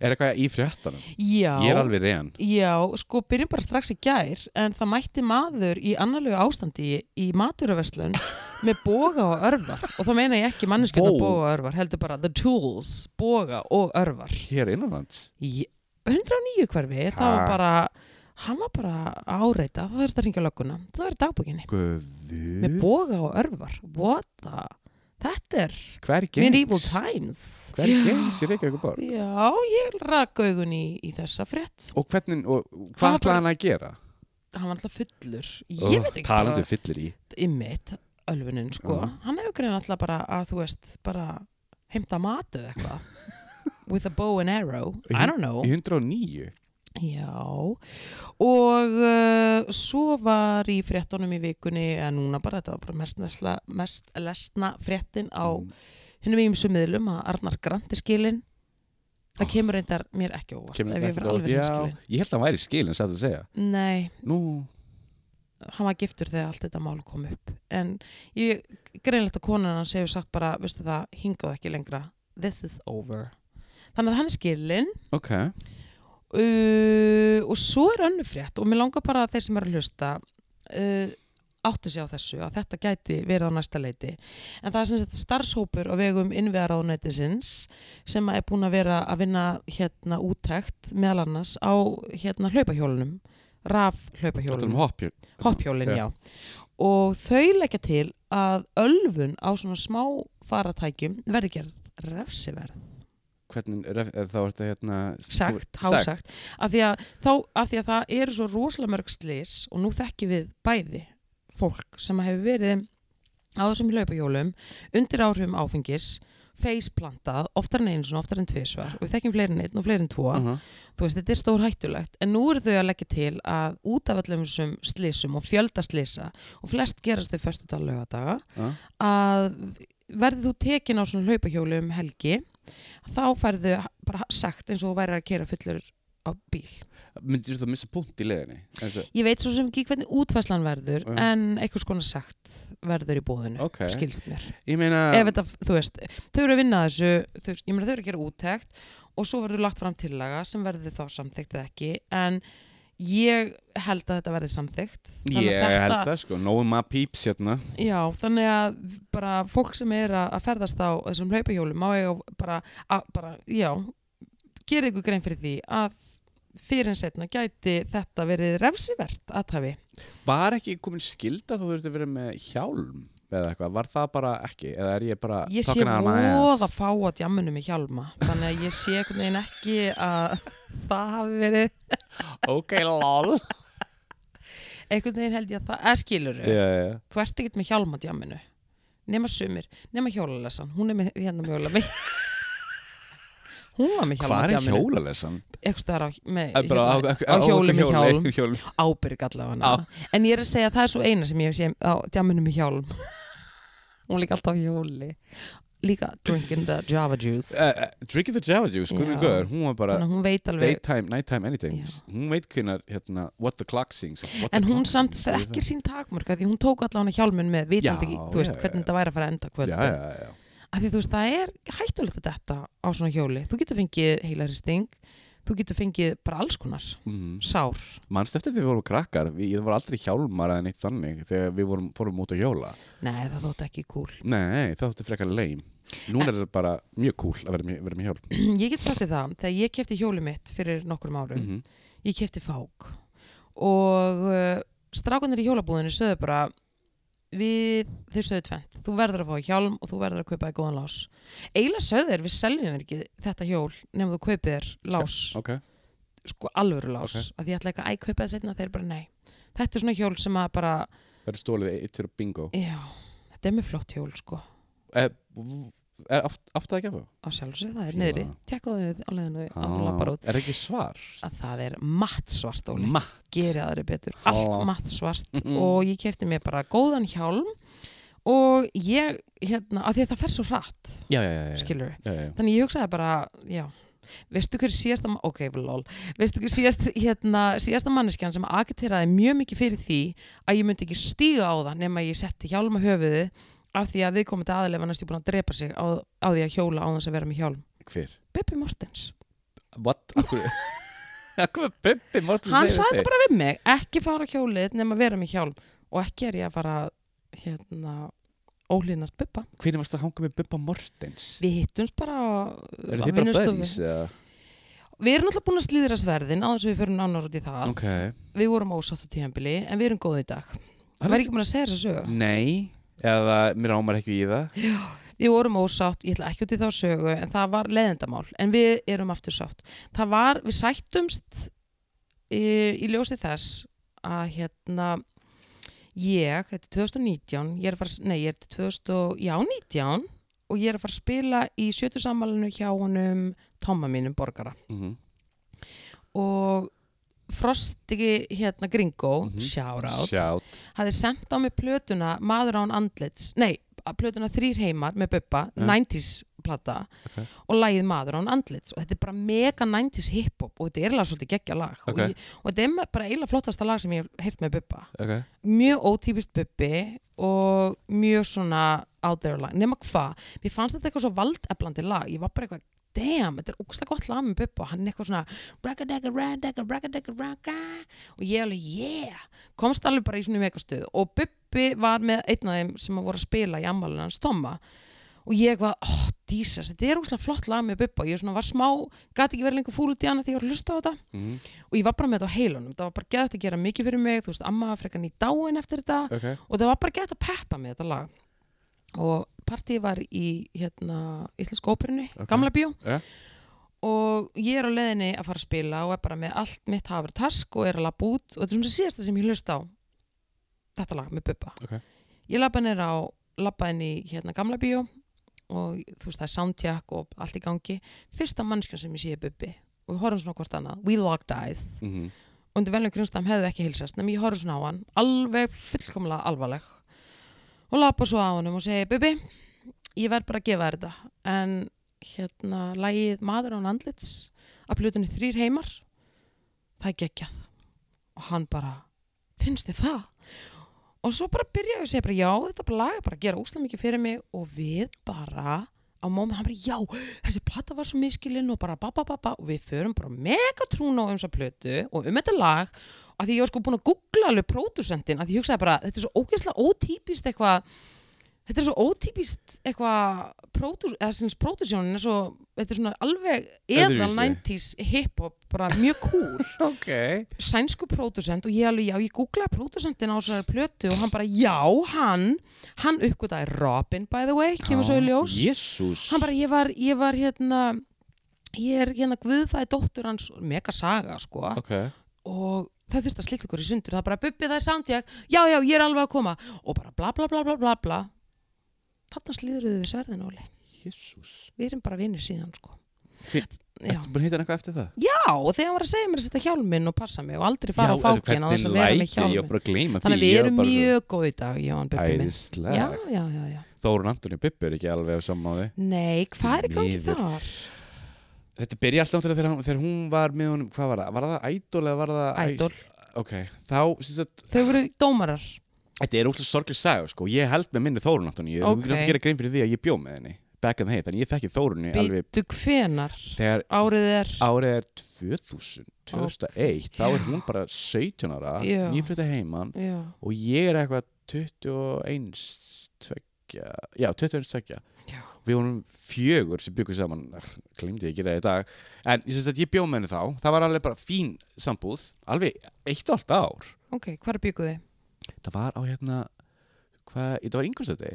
S2: er eitthvað í fréttanum,
S1: já,
S2: ég er alveg reyn
S1: já, sko byrjum bara strax í gær en það mætti maður í annarlegu ástandi í, í maturuverslun með boga og örvar og þá meina ég ekki manneskjönd
S2: Vó.
S1: og boga og örvar, heldur bara the tools, boga og örvar
S2: hér innanlands,
S1: Ég- 109 hverfi, það var
S2: Ha.
S1: bara hann var bara að áreita það þurfti að ringja lögguna, það var í dagbókinni með
S2: guðu
S1: boga og örvar, what the þetta er
S2: hver
S1: medieval
S2: gengs,
S1: times
S2: hver gengs í Reykjavík borg
S1: Já, ég rak augun í, í þessa frétt.
S2: og hvernig, og
S1: Hvað
S2: hvað ætlaði hann að gera
S1: Hann var alltaf fullur. Ég veit ekki
S2: talandi fyllir í
S1: bara ymmit, ölfunin sko.
S2: Já.
S1: Hann hefur greið alltaf bara að þú veist, bara heimta mat eða eitthvað. With a bow and arrow. I don't know.
S2: í 109,
S1: Já. Og uh, svo var í fréttunum í vikunni, en núna bara, þetta var bara mest, nesla, mest lesna fréttin á
S2: Mm.
S1: hinnum ímsum miðlum að Arnar Grant er skilin. Það
S2: Oh.
S1: kemur reyndar mér ekki á óvart
S2: kemur
S1: ef ég
S2: þetta
S1: verið alveg
S2: ekki á-
S1: hinskilin.
S2: Já, ég held að hann væri skilin, sætt að segja
S1: Nei,
S2: nú,
S1: hann var giftur þegar allt þetta mál kom upp en ég greinlegt að konan hans hefur sagt bara, veistu það, hingað ekki lengra this is over þannig að hann er skilin
S2: ok
S1: uh, og svo er önnur frétt og mér langar bara að þeir sem eru að hlusta uh, átti sig á þessu að þetta gæti verið á næsta leiti en það er sem sagt starfshópur á vegum innviðaráðunætisins sem að er búin að vera að vinna hérna úttækt meðal annars á hérna hlaupahjólunum raf
S2: Þetta er
S1: hlaupahjólunum
S2: um hoppjól
S1: hoppjólin,
S2: Já.
S1: já. Og þau leggja til að ölfun á svona smá faratækjum verði gerð refsiverð,
S2: Hvernig, ref- eh, þá er þetta hérna
S1: sagt,
S2: þú-
S1: hásagt af því að, þá, af því að það eru svo rosalega mörg slis og nú þekkjum við bæði fólk sem hefur verið á þessum hlaupahjólum undir áhrifum áfengis faceplantað, oftar en einu svona, oftar en tvisvar og við þekkjum fleiri en einn og fleiri en tvo
S2: Aha.
S1: þú veist, þetta er stór hættulegt en nú eru þau að leggja til að út af öllum þessum slysum og fjölda slisa og flest gerast þau föstu dag lögadaga
S2: Já.
S1: að verður þú tekin á svona hlaupahjólu um helgi þá færðu bara sagt eins og þú væri að kera fullur á bíl.
S2: myndir þú að missa punkt í leiðinni Þessu,
S1: Ég veit svo sem ekki hvernig útfæslan verður
S2: Já.
S1: en einhvers konar sagt verður í bóðinu
S2: ok,
S1: skilst mér.
S2: ég meina
S1: Ef þetta, þú veist, þau eru að vinna að þessu, þau, ég meina þau eru að gera úttekt og svo verður lagt fram tillaga sem verður þá samþykkt eða ekki en ég held að þetta verði samþykkt. Þannig að
S2: ég
S1: þetta-
S2: held það sko, nóum að píps hérna
S1: Já, þannig að bara fólk sem er að að ferðast á þessum hlaupahjólum má eiga bara, að, bara já, gera ykkur grein fyrir því að fyrir en setna gæti þetta verið refsivert aðhafi.
S2: var ekki komin skilda þá þurfti að vera með hjálm eða eitthvað, var það bara ekki eða er ég bara
S1: Ég sé
S2: talking out of my ass?
S1: voða fá að djamunum í hjálma, þannig að ég sé einhvern veginn ekki að það hafi verið,
S2: ok, lol
S1: einhvern veginn held ég að það, eða skilur
S2: já, já, já.
S1: þú ert ekkert með hjálma djaminu, nema sumir, nema hjólalessan, hún er með, hérna með hjóla, hún var með hjálma
S2: hvað er
S1: djaminu.
S2: hjólalessan?
S1: eitthvað staðar á, með,
S2: Eh, bara
S1: hérna,
S2: á-
S1: á hjóli með
S2: hjóli,
S1: hjálm
S2: hjóli.
S1: ábyrg allavega en ég er að segja að það er svo eina sem ég hef sé á djamunum með hjálm hún er líka alltaf á hjóli líka drinking the java juice
S2: Eh, eh, Drinking the Java Juice, Guðmund
S1: Já.
S2: Guður hún var bara
S1: þannig að hún veit alveg
S2: daytime, nighttime, anything
S1: Já.
S2: hún veit hvernig hérna, what the clock sings what the
S1: en hún
S2: clock
S1: samt
S2: sings, segir
S1: þekkir sín takmörka því hún tók allavega hjálmun með vitandi
S2: Já,
S1: ekki, þú veist,
S2: já,
S1: hvernig
S2: já.
S1: þetta væri að fara að enda
S2: það.
S1: kvöld
S2: já, já, já,
S1: af því þú veist það er hættulegt að detta á svona hjóli þú getur fengið heilaristing þú getur fengið bara alls konar
S2: mm.
S1: sár
S2: manst eftir því við vorum krakkar við, ég var aldrei hjálmar eða neitt þannig þegar við vorum, fórum út að hjóla
S1: nei það þótt ekki cool
S2: nei, það átti frekar leim núna er það bara mjög cool að vera, með- vera með hjálm
S1: ég get sagt þér það, þegar ég kefti hjóli mitt fyrir nokkrum árum
S2: mm -hmm.
S1: ég kefti fák og uh, strákunnir í hjólabúðinu sögðu bara við, þeir sögðu tvent, þú verður að fá hjálm og þú verður að kaupa þér góðan lás eiginlega sögðu þeir, við seljum þér ekki þetta hjól nefnum þú kaupir þér lás
S2: ok,
S1: sko alvöru lás,
S2: Ok.
S1: að því ég ætla ekki að æ, kaupa þér setna þeir bara nei, þetta er svona hjól sem að bara,
S2: það er stólið eitt fyrir bingo
S1: já þetta er mjög flott hjól sko
S2: eh, v- er átt átt það ekki að
S1: á sjálfsögðu það er
S2: Fíla
S1: niðri,
S2: það.
S1: tekka þau á leiðinu á
S2: það
S1: lappar út,
S2: Ah, er ekki svar
S1: að það er matt svart óli
S2: Ma-
S1: geri aðri betur, allt
S2: Já.
S1: matt svart
S2: Mhm.
S1: og ég kefti mér bara góðan hjálm og ég hérna, af því að það fer svo hratt
S2: já, já, já, já, já,
S1: skilur
S2: já, já.
S1: þannig ég hugsaði bara, já veistu hver síðasta, ma- ok, lol veistu hver síðast, hérna, síðasta manneskjan sem agiteraði mjög mikið fyrir því að ég myndi ekki stíga á það nema ég setti hjálm á höfuðu af því að við komum til aðlega næstu búin að drepa sig á, á því að hjóla á þess að vera með hjálm
S2: hver?
S1: Bubbi Mortens,
S2: what? akkur akkur er Bubbi Mortens
S1: hann
S2: segir
S1: sagði
S2: þetta?
S1: þetta bara við mig ekki fara á hjólið nema vera með hjálm og ekki er ég að fara hérna, ólínast Bubba
S2: hvernig varst að hanga með Bubba Mortens?
S1: Við hittumst bara á-
S2: Eru
S1: á
S2: þið bara
S1: vinnustofu.
S2: buddies? eða?
S1: Við erum alltaf búin að slíðra sverðin á þess að við förum nánar út í það.
S2: Ok
S1: Við vorum ósátt á tíðanbili en við erum góð í dag. Það
S2: Hann
S1: var ekki búin að segja þess að sögu.
S2: Nei, eða mér ámar ekki í það
S1: Við vorum ósátt, ég ætla ekki út í þá sögu en það var leðendamál en við erum aftur sátt. Það var, við sættumst í, í ljósi þess að hérna ég, þetta er 2019, ég er að fara, s- nei ég er 2000, og- já 19 og ég er að fara að spila í sjötusammalinu hjá honum Tomma mínum borgara.
S2: mm -hmm.
S1: og Frosti hérna Gringo mm
S2: Mhm.
S1: shoutout,
S2: Sjátt
S1: hafði sendt á mig plötuna Maður án andlits, nei að plötuna þrýr heimar með Bubba
S2: Ja.
S1: 90s plata
S2: Ok.
S1: og lagið Maður án andlits og þetta er bara mega 90s hiphop og þetta er eiginlega svolítið geggja lag
S2: Ok.
S1: og, ég, og þetta er me- bara eiginlega flottasta lag sem ég hef heyrt með Bubba
S2: okay.
S1: mjög ótípist Bubbi og mjög svona out there lag nema hvað, mér fannst þetta eitthvað svo valdeflandi lag ég var bara eitthvað damn, þetta er ógslag gott lag með Bubba hann er eitthvað svona bragadega, bragadega, bragadega, bragadega og ég alveg, yeah komst alveg bara í svona megastöð og Bubbi var með einn af þeim sem að voru að spila í ammálinu hans Tomma og ég var, oh, Jesus, þetta er ógslag flott lag með Bubba og ég svona var smá, gat ekki verið lengur fúl út í hana því ég var að hlusta á þetta
S2: mm,
S1: og ég var bara með þetta á heilanum, það var bara gett að gera mikið fyrir mig, þú veist, amma var frekan í dáin eftir þetta
S2: ok,
S1: og það var bara gett að peppa með þetta lag og partíð var í hérna, Íslensk óperinu,
S2: Ok.
S1: gamla bíó
S2: Ja.
S1: og ég er á leiðinni að fara að spila og er bara með allt mitt hafur task og er að labba út og þetta er svona síðasta sem ég hlusta á þetta lag með Bubba
S2: Ok.
S1: ég labba henni á labba henni í hérna, gamla bíó og þú veist það er soundcheck og allt í gangi fyrsta mannskjón sem ég sé er Bubbi og við horfum svona á hvort annað, we locked eyes
S2: mhm,
S1: undir velnum grunnstam hefðu ekki hilsast nema ég horf svona á hann, alveg fullkomlega alvarleg og lappa svo á hann og segi, Bubi, ég verð bara að gefa þér þetta en hérna, lagið Maður án andlits að plötunni þrýr heimar það er geggjað og hann bara, finnst þið það? og svo bara byrjaði að segja bara, já, þetta bara lag er bara að gera úslega mikið fyrir mig og við bara á mómið, hann bara, já, þessi plata var svo miskilinn og bara ba ba ba ba og við förum bara mega trúna á um þessa plötu og um þetta lag af því ég var sko búin að googla alveg pródusentinn af því ég hugsaði bara, þetta er svo ógeðslega ótípist eitthvað þetta er svo ótípist eitthvað pródus, eða sinns pródusjónin er svo, þetta er svona alveg eðal
S2: Öðruvísi.
S1: 90s hiphop, bara mjög cool
S2: ok
S1: sænsku pródusent og ég alveg, já, ég googlaði pródusentin á þessari plötu og hann bara, já, hann hann uppgötaði Robin, by the way kemur
S2: Ah,
S1: svo í ljós
S2: jésús
S1: hann bara, ég var, ég var hérna ég er hérna guðfæði dóttur hans mega saga, sko
S2: ok,
S1: og það þurfti að slita ykkur í sundur það bara, bubbi, það er soundjack, já, já, ég er alveg að koma og bara bla bla bla bla bla bla þarna slíðruðu við sverðin, Óli
S2: jésús
S1: við erum bara vinnir síðan, sko
S2: Fín.
S1: Já.
S2: ertu búin að hitta hann eitthvað eftir það?
S1: Já, og þegar hann var að segja mér að setja hjálminn og passa mig og aldrei fara á fákinn á þess að vera með
S2: ég var
S1: hjálminn
S2: bara að gleyma
S1: Þannig að við erum mjög góð í dag, Jón Bubbi minn. Já,
S2: æðislega
S1: já, já, já.
S2: Þórun Antoni Bibbi er ekki alveg á sammáði
S1: Nei, hvað er í gangi
S2: Miður.
S1: þar?
S2: Þetta byrja alltaf náttúrulega þegar, hann- þegar hún var með honum, hvað var það? Var það ædol eða var það...
S1: Idol.
S2: Ok, þá, sem sagt,
S1: Þau voru dómarar.
S2: þetta er útlægt sorglega saga, sko. Ég held með minni Þórun Antoni. Ég
S1: Ok.
S2: okay. náttúrulega gera grein fyrir því að ég bjó með henni. Back in the head, þannig ég þekki Þórunni alveg
S1: Býtu hvenar
S2: þegar
S1: árið er
S2: árið er 2000, 2001. Þá er
S1: Já.
S2: hún bara 17 ára,
S1: Já.
S2: nýflutt að heiman
S1: Já,
S2: og ég er eitthvað 21, 2, já, 21, 2
S1: já,
S2: við vorum fjögur sem byggum saman glimti ég að gera það í dag en ég, sést að ég bjó með henni þá, það var alveg bara fín sambúð, alveg eitt og allt ár
S1: ok, hvað er bygguði?
S2: það var á hérna hvað, þetta var yngurstætti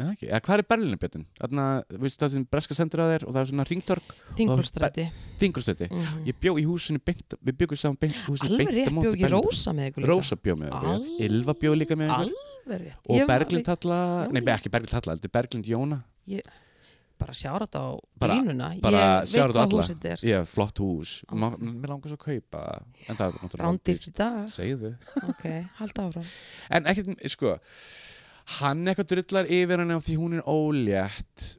S2: eða ekki, eða hvað er Berlinabjötin þarna, þú veist það sem breska sendur á þér og það er svona ringtork,
S1: Þingvöldstræti.
S2: þingurstætti ég bjó í húsinu beint, við byggum saman beint, húsinu
S1: Mhm. Mm. Alveg rétt bjóð ekki
S2: Berlínar.
S1: rosa með ykkur líka.
S2: Rósa bjó með henni,
S1: Al-
S2: Ylva bjó líka með henni
S1: Alveg rétt.
S2: og
S1: Ég var
S2: Berglind Halla,
S1: Já,
S2: nei
S1: já.
S2: ekki Berglind Halla, þetta er Berglind Jóna
S1: alveg- Bara sjára þetta á
S2: Bara-
S1: línuna.
S2: bara
S1: Ég
S2: shout
S1: veit
S2: out
S1: hvað
S2: alla.
S1: hús þetta er.
S2: Já, flott hús
S1: Ok.
S2: Ma- Mér langar svo að kaupa það, En það er náttúrulega rándýrt.
S1: Rándýrt í dag.
S2: Segðu
S1: Ok, halda áfram.
S2: En ekkert, sko Hann eitthvað drullar yfir henni af Því hún er ólétt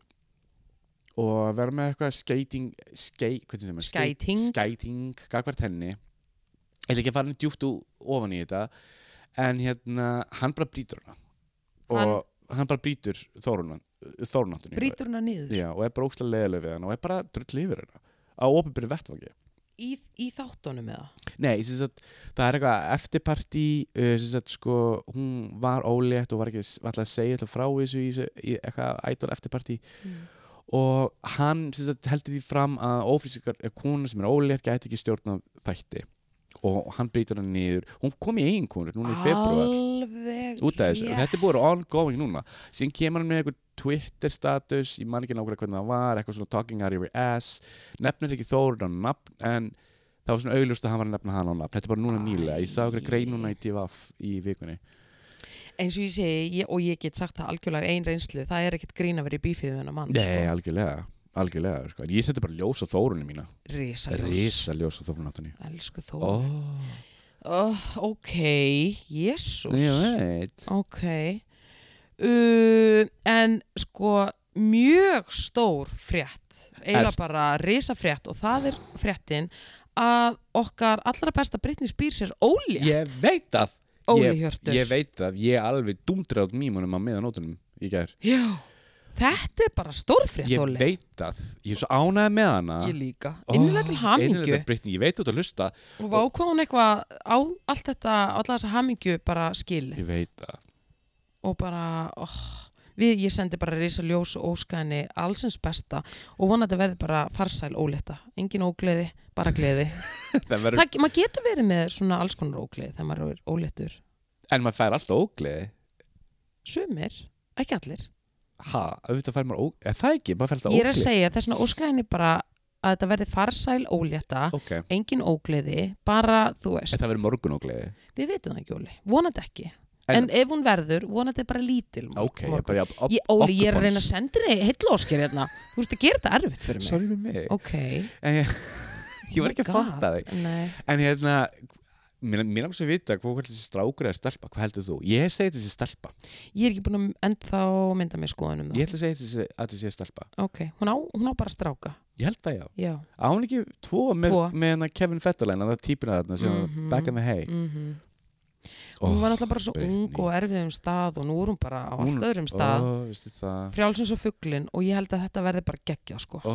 S2: Og verður með eitthvað skeiting skei, Hvernig sem er
S1: Skæting.
S2: Skæting, gagvart henni Ég ætla ekki að fara henni djúpt ú- ofan í þetta En hérna, hann bara brýtur hana Og hann, bara brýtur Þórunan Þórunáttunni
S1: Brýtur huna niður.
S2: Já, og er bara ókslega leiðileg við hann Og er bara drull yfir henni Á opinbyrði vettvangi
S1: Í, í þáttunum eða?
S2: Nei, sem sagt, það er eitthvað eftirparti uh, sem sagt, sko, hún var ólétt og var ekki alltaf að segja alltaf frá þessu í, þessu- í eitthvað ædol eftirparti
S1: Mm.
S2: og hann sem sagt, heldur því fram að ófrískar kona sem er ólétt gæti ekki stjórna þætti og hann brýtur hann niður hún kom í eigin konur núna í februar
S1: Alveg
S2: út af þessu og
S1: rétt.
S2: þetta er búið að vera ongoing núna síðan kemur hann með eitthvað Twitter status ég man ekki nákvæmlega hvernig það var eitthvað svona talking out of your ass nefnir ekki Þórun á nafn en það var svona augljóst að hann var að nefna hann á nafn þetta er bara núna
S1: Æ.
S2: nýlega ég sá eitthvað grein núna í divaf í vikunni
S1: eins og ég segi, ég, og ég get sagt það algjörlega ein reynslu, það er ekkert grín að vera í bífið við hennar mann, sko.
S2: nei, Sko, algjörlega algjörlega sko. En ég seti bara ljós á Þórunni mína
S1: sko, risaljós
S2: risa ljós á Þórunni áttunni
S1: elsku þó oh.
S2: oh.
S1: ok, jésús
S2: ég veit
S1: ok uh, en sko mjög stór frétt eiginlega
S2: Ert-
S1: bara risafrétt og það er fréttin að okkar allra besta Britney Spears er ólétt
S2: ég veit það
S1: Óli Hjörtur
S2: ég veit það ég alveg dúmdrað mýmunum á meðanótunum í gær
S1: Já, Þetta er bara stórfrétt,
S2: ég
S1: Óli.
S2: veit það, ég er svo ánægð með hana
S1: Ég líka.
S2: Ó,
S1: Innilega til hamingju.
S2: innilega, Brittany, ég veit þú ert að hlusta
S1: Og vákvað hún eitthvað á allt þetta, alla þessa hamingju bara skilið.
S2: ég veit það,
S1: og bara oh, við, ég sendi bara risa ljós og óskæðinni allsins besta og vonandi verði bara farsæl ólétta engin ógleði, bara gleði
S2: það verður,
S1: það, maður getur verið með svona alls konar ógleði þegar maður er óléttur
S2: en maður fær alltaf ógleði
S1: sumir, ekki allir
S2: ha, auðvitað fær maður ógleði, það ekki, maður fær alltaf
S1: ég er að
S2: ógleði
S1: segja þess vegna óskæðinni bara að þetta verði farsæl ólétta
S2: ok,
S1: engin ógleði, bara þú veist
S2: þetta verður morgun ógleði
S1: við vitum það ekki Óli, vonandi ekki en,
S2: En-
S1: ef hún verður, vonandi bara lítil
S2: ok, ég
S1: morgun.
S2: er bara op- op-
S1: Ég, Óli, ég er að
S2: okkupons.
S1: reyna að senda henni heitlóskir hérna. Þú veist að gera þetta erfitt fyrir mig.
S2: sorry með mig
S1: Ok.
S2: en ég, ég var ekki
S1: Oh
S2: að
S1: my
S2: fatta
S1: God,
S2: þig
S1: Nei.
S2: en hérna mér mér langar svo að vita hvað hvort þessi strákur eða stelpa, hvað heldur þú? Ég segi þetta þessi stelpa,
S1: Ég er ekki búin að ennþá mynda með skoðunum það.
S2: ég ætla að segja þessi, að þetta sé stelpa
S1: Ok, hún á, hún á bara stráka.
S2: ég held það já,
S1: Já.
S2: á hún ekki tvo með,
S1: Tvo.
S2: með hana Kevin Fetterlein að það típina þarna sem mm
S1: Mhm.
S2: back in the hay
S1: Mm
S2: Ó,
S1: hún var náttúrulega bara svo
S2: Brittany.
S1: ung og erfið um stað og nú er hún bara á
S2: Hún-
S1: allt öðrum stað.
S2: ó, Oh. veistu það Oh.
S1: Frjálsins og fugglin og ég held að þetta verði bara geggjað sko.
S2: ó,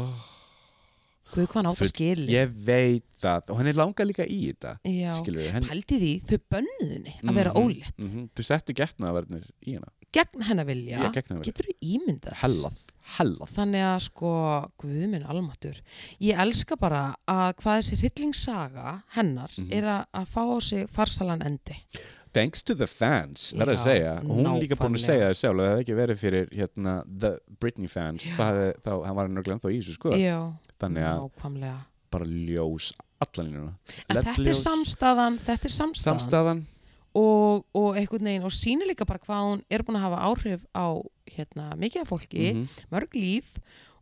S1: Guð hvað hann á það
S2: Full-
S1: skilið.
S2: ég veit það og henni langar líka í þetta
S1: Já.
S2: skilur við, henni
S1: Pældi því þau bönnuðinni að vera
S2: Mhm,
S1: ólétt.
S2: mhm. þau settu getnaverðnir í hana
S1: Gegn hennar vilja.
S2: ég gegnaverð
S1: Getur þú ímyndað? þér?
S2: hellað, hellað
S1: Þannig að sko, guð minn almatur, ég elska bara að hvað þessi hryllingssaga hennar
S2: Mhm.
S1: er að, að fá á sig farsalan endi.
S2: thanks to the fans, verður að
S1: Já,
S2: segja og hún er líka búin að
S1: nákvæmlega.
S2: segja það sjálf ef það hefði ekki verið fyrir hérna, the Britney fans
S1: Já.
S2: það hefði, þá hann var hann örglega ennþá í þessu sko
S1: Já,
S2: þannig að
S1: nákvæmlega.
S2: bara ljós allaninu
S1: En þetta er samstæðan, þetta er samstæðan
S2: samstæðan
S1: og, og einhvern veginn og sýnir líka bara hvað hún er búin að hafa áhrif á hérna, mikið af fólki,
S2: Mhm. Mm.
S1: mörg líf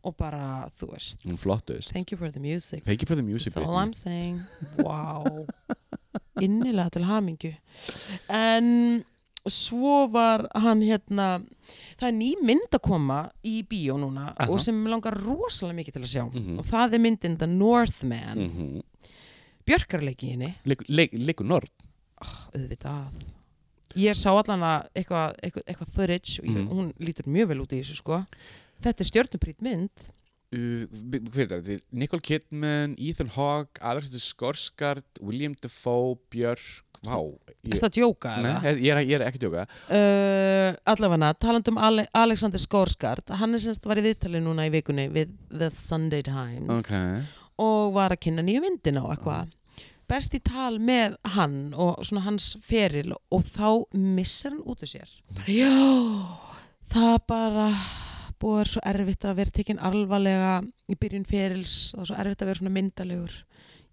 S1: og bara, þú veist,
S2: hún flottuðist
S1: thank you for the music.
S2: thank you for the music
S1: That's all
S2: Britney
S1: I'm saying. Wow. Innilega til hamingju. En svo var hann hérna, það er ný mynd að koma í bíó núna
S2: Aha.
S1: og sem mig langar rosalega mikið til að sjá.
S2: Mhm.
S1: Og það er myndin The Northman. Mm.
S2: Mhm.
S1: Björkarleikinni,
S2: Leikur- leik- leikur Norð
S1: auðvitað. Ég sá allan að eitthvað eitthva, eitthva footage og ég,
S2: Mhm.
S1: hún lítur mjög vel út í þessu sko. Þetta er stjörnuprýtt mynd.
S2: Uh, b- b- hver er þetta? Nicole Kidman, Ethan Hawke Alexander Skarsgård, William Dafoe Björk, vá
S1: Ég...
S2: ég,
S1: Þetta djóka eða?
S2: Nei, ég, er, ég er ekki að tjóka
S1: uh, allavega, taland um Ale Alexander Skorsgard, hann er semst var í viðtali núna í vikunni við The Sunday Times
S2: ok,
S1: og var að kynna nýju myndina og eitthvað berst í tal með hann og svona hans feril og þá missar hann út úr sér bara já það bara búið er svo erfitt að vera tekin alvarlega í byrjun ferils það var svo erfitt að vera svona myndalegur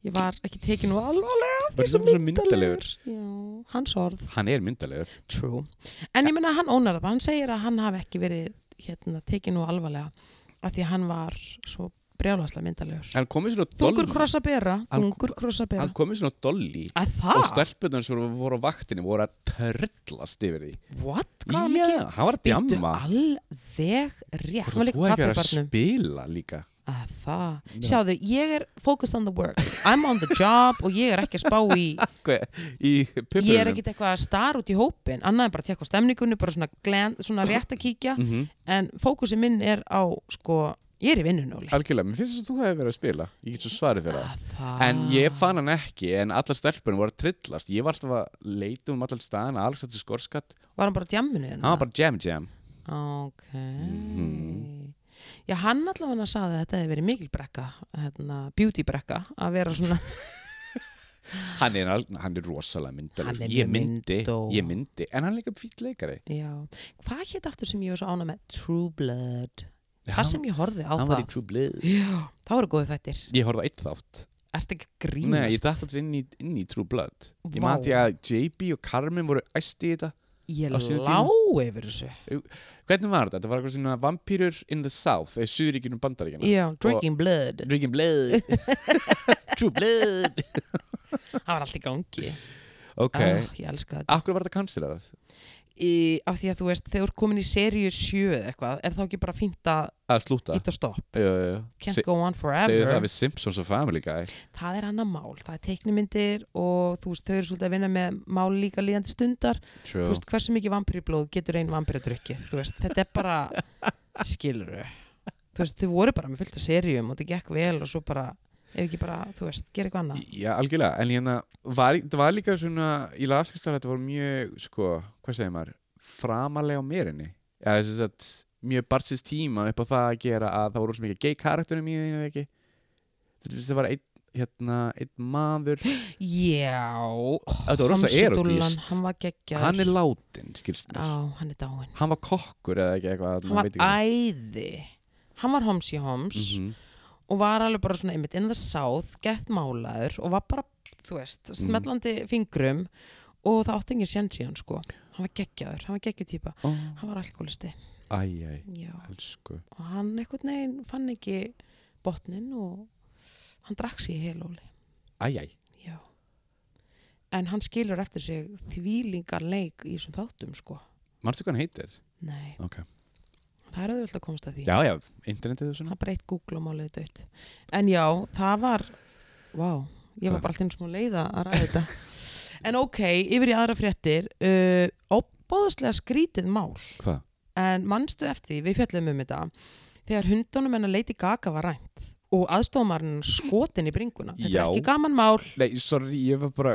S1: ég var ekki tekin nú alvarlega
S2: Var
S1: því svo
S2: hann svona
S1: myndalegur já, hans orð
S2: hann er myndalegur
S1: True. En ég meina að hann ónar það, bara. hann segir að hann hafi ekki verið hérna, tekið nú alvarlega af því að hann var svo brjálaslega myndalegur.
S2: hann komið svona
S1: Þungur
S2: dolli
S1: krossa bera,
S2: Hann-
S1: þungur krossa bera.
S2: hann komið svona dolli
S1: Að
S2: og
S1: það?
S2: stelpunar sem voru, voru á vaktinni voru að tröllast yfir því
S1: What? Hvað hann ekki?
S2: Já, hann var að
S1: Býtu
S2: djamma
S1: alveg rétt. Hann var
S2: Hvort þú
S1: líka
S2: ekki
S1: kaffi
S2: verið að
S1: barnum.
S2: spila líka
S1: Að það?
S2: Já.
S1: Sjáðu, ég er focused on the work. I'm on the job og ég er ekki að spá í,
S2: Hva, í pipurunum
S1: ég er ekkit eitthvað að star út í hópin, annað en bara að tjekka á stemningunni, bara svona, glen, svona rétt að kíkja.
S2: mm -hmm.
S1: En fókusin minn er á, sko, ég er í vinnunóli.
S2: algjörlega, mér finnst þess að þú hefur verið að spila ég get svo svarið fyrir
S1: Ah,
S2: það
S1: það
S2: en ég fann hann ekki, en allar stelpunum voru að trillast ég var alltaf að leita um allar staðan Alexander Skorskatt,
S1: Var hann bara á djamminu hérna?
S2: hann var bara jam jam
S1: Ok
S2: Mhm.
S1: Já, hann allavega sagði að þetta hefði verið mikil brekka hérna, beauty brekka að vera svona
S2: hann er, al- hann er rosalega
S1: Hann
S2: myndalegur
S1: er
S2: ég
S1: mjög
S2: myndi,
S1: myndó.
S2: ég myndi en hann er líka fýtt leikari
S1: Já, hvað hétt aftur sem ég var svo ána með? True Blood Það
S2: hann,
S1: sem ég horfið á
S2: hann var í
S1: það
S2: True Blood
S1: Já, það voru góðu þættir
S2: ég horfði á eitt þátt
S1: Ertu ekki að grínast?
S2: Nei, ég dætt alltaf inn í, inn í True Blood Ég
S1: Vá.
S2: mati að JB og Carmen voru æsti í þetta
S1: Ég
S2: á sínum
S1: lá yfir þessu
S2: Hvernig var þetta? Þetta var eitthvað svona vampýrur in the south eða suðuríkjunum bandaríkjana
S1: Já, Drinking Blood
S2: Drinking blood True blood
S1: Það var allt í gangi
S2: Ok,
S1: Ah, Ég elska þetta
S2: akkur var þetta cancelerað?
S1: í, af því að þú veist, þegar þú ert komin í seríu 7 eða eitthvað, er þá ekki bara fínt að
S2: að slúta
S1: hitta stopp,
S2: Jú, jú, jú.
S1: can't
S2: Se-
S1: go on
S2: segðu það
S1: forever
S2: við Simpsons og Family Guy
S1: það er annað mál, það er teiknimyndir og þú veist, þau eru svolítið að vinna með mál líka líðandi stundar, þú
S2: True.
S1: veist, hversu mikið vampirblóð getur einn vampirudrykki, þú veist, þetta er bara skilur þú veist, þau voru bara með fullt af seríum og þetta gekk vel og svo bara, ef ekki bara þú veist, gera eitthvað annað
S2: Já, algjörlega, en hérna var, það var líka svona, í lafskastar þetta var mjög, sko, hvað segir maður framalega á mérinni eða þess að mjög barnsins tíma upp á það að gera að það voru svo mikið gay karakterum í þeim eða ekki Þú veist, það var einn, hérna, einn maður
S1: Já, oh,
S2: Þetta var rosalega erotíst.
S1: hann var geggjaður
S2: hann er látin, skilst mér
S1: Já, hann er dáinn
S2: hann var kokkur eða ekki eitthvað
S1: hann var æði hann var homs í homs
S2: mm
S1: og var alveg bara svona einmitt in the south gett málaður og var bara þú veist, smellandi fingrum og það átti engin sjens í hann sko hann var geggjaður, hann var geggjuð týpa hann var alkoholisti,
S2: Æ, Mhm. æ,
S1: já
S2: elsku
S1: og hann einhvern veginn fann ekki botnin og hann drakk sér í heilóli,
S2: Æ, æ,
S1: já en hann skilur eftir sig þvílingar leik í þessum þáttum sko
S2: manstu hvað hann heitir?
S1: nei,
S2: Ok.
S1: það er auðvitað að komast að því
S2: Já, já, internetið og svona
S1: það breytt Google og málið dött en já, það var vá, ég var bara alltaf eins og leiða að ræða þetta en ok, yfir í aðra fréttir uh, óbóðslega skrítið mál
S2: Hvað?
S1: en mannstu eftir því, við fjöllum um þetta þegar hundunum hennar Lady Gaga var rænt og aðstofumarinn skotin í bringuna þetta
S2: Já.
S1: er ekki gaman mál
S2: Nei, sorry, ég var bara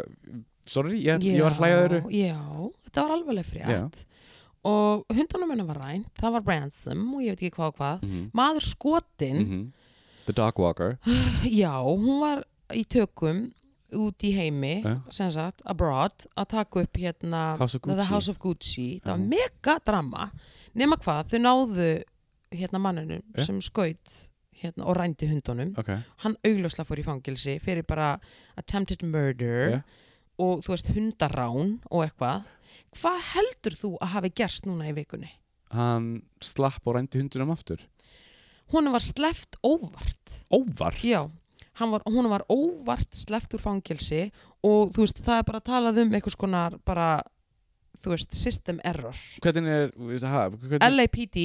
S2: Sorry, ég, ég var að hlæga öðru
S1: já, þetta var alveg frétt og hundunum hennar var rænt það var ransom og ég veit ekki hvað og hvað
S2: mm
S1: maður skotin
S2: Mhm. The Dog Walker
S1: Já, hún var í tökum út í heimi,
S2: Já.
S1: sem sagt, abroad, að taka upp hérna
S2: House of
S1: The
S2: Gucci.
S1: House of Gucci. Það var
S2: Já.
S1: mega drama, nema hvað, þau náðu hérna mannunum
S2: Já.
S1: sem skaut hérna, og rændi hundunum.
S2: Ok,
S1: Hann augljóslega fór í fangilsi fyrir bara attempted murder
S2: Já.
S1: og þú veist hundarán og eitthvað. Hvað heldur þú að hafi gerst núna í vikunni?
S2: hann slapp og rændi hundunum aftur
S1: Hún var sleppt óvart.
S2: Óvar
S1: Já, hann var, hún var óvart sleppt úr fangelsi og þú veist, það er bara talað um einhvers konar bara, þú veist, system error.
S2: Hvernig er, við- ha, hvernig,
S1: LAPD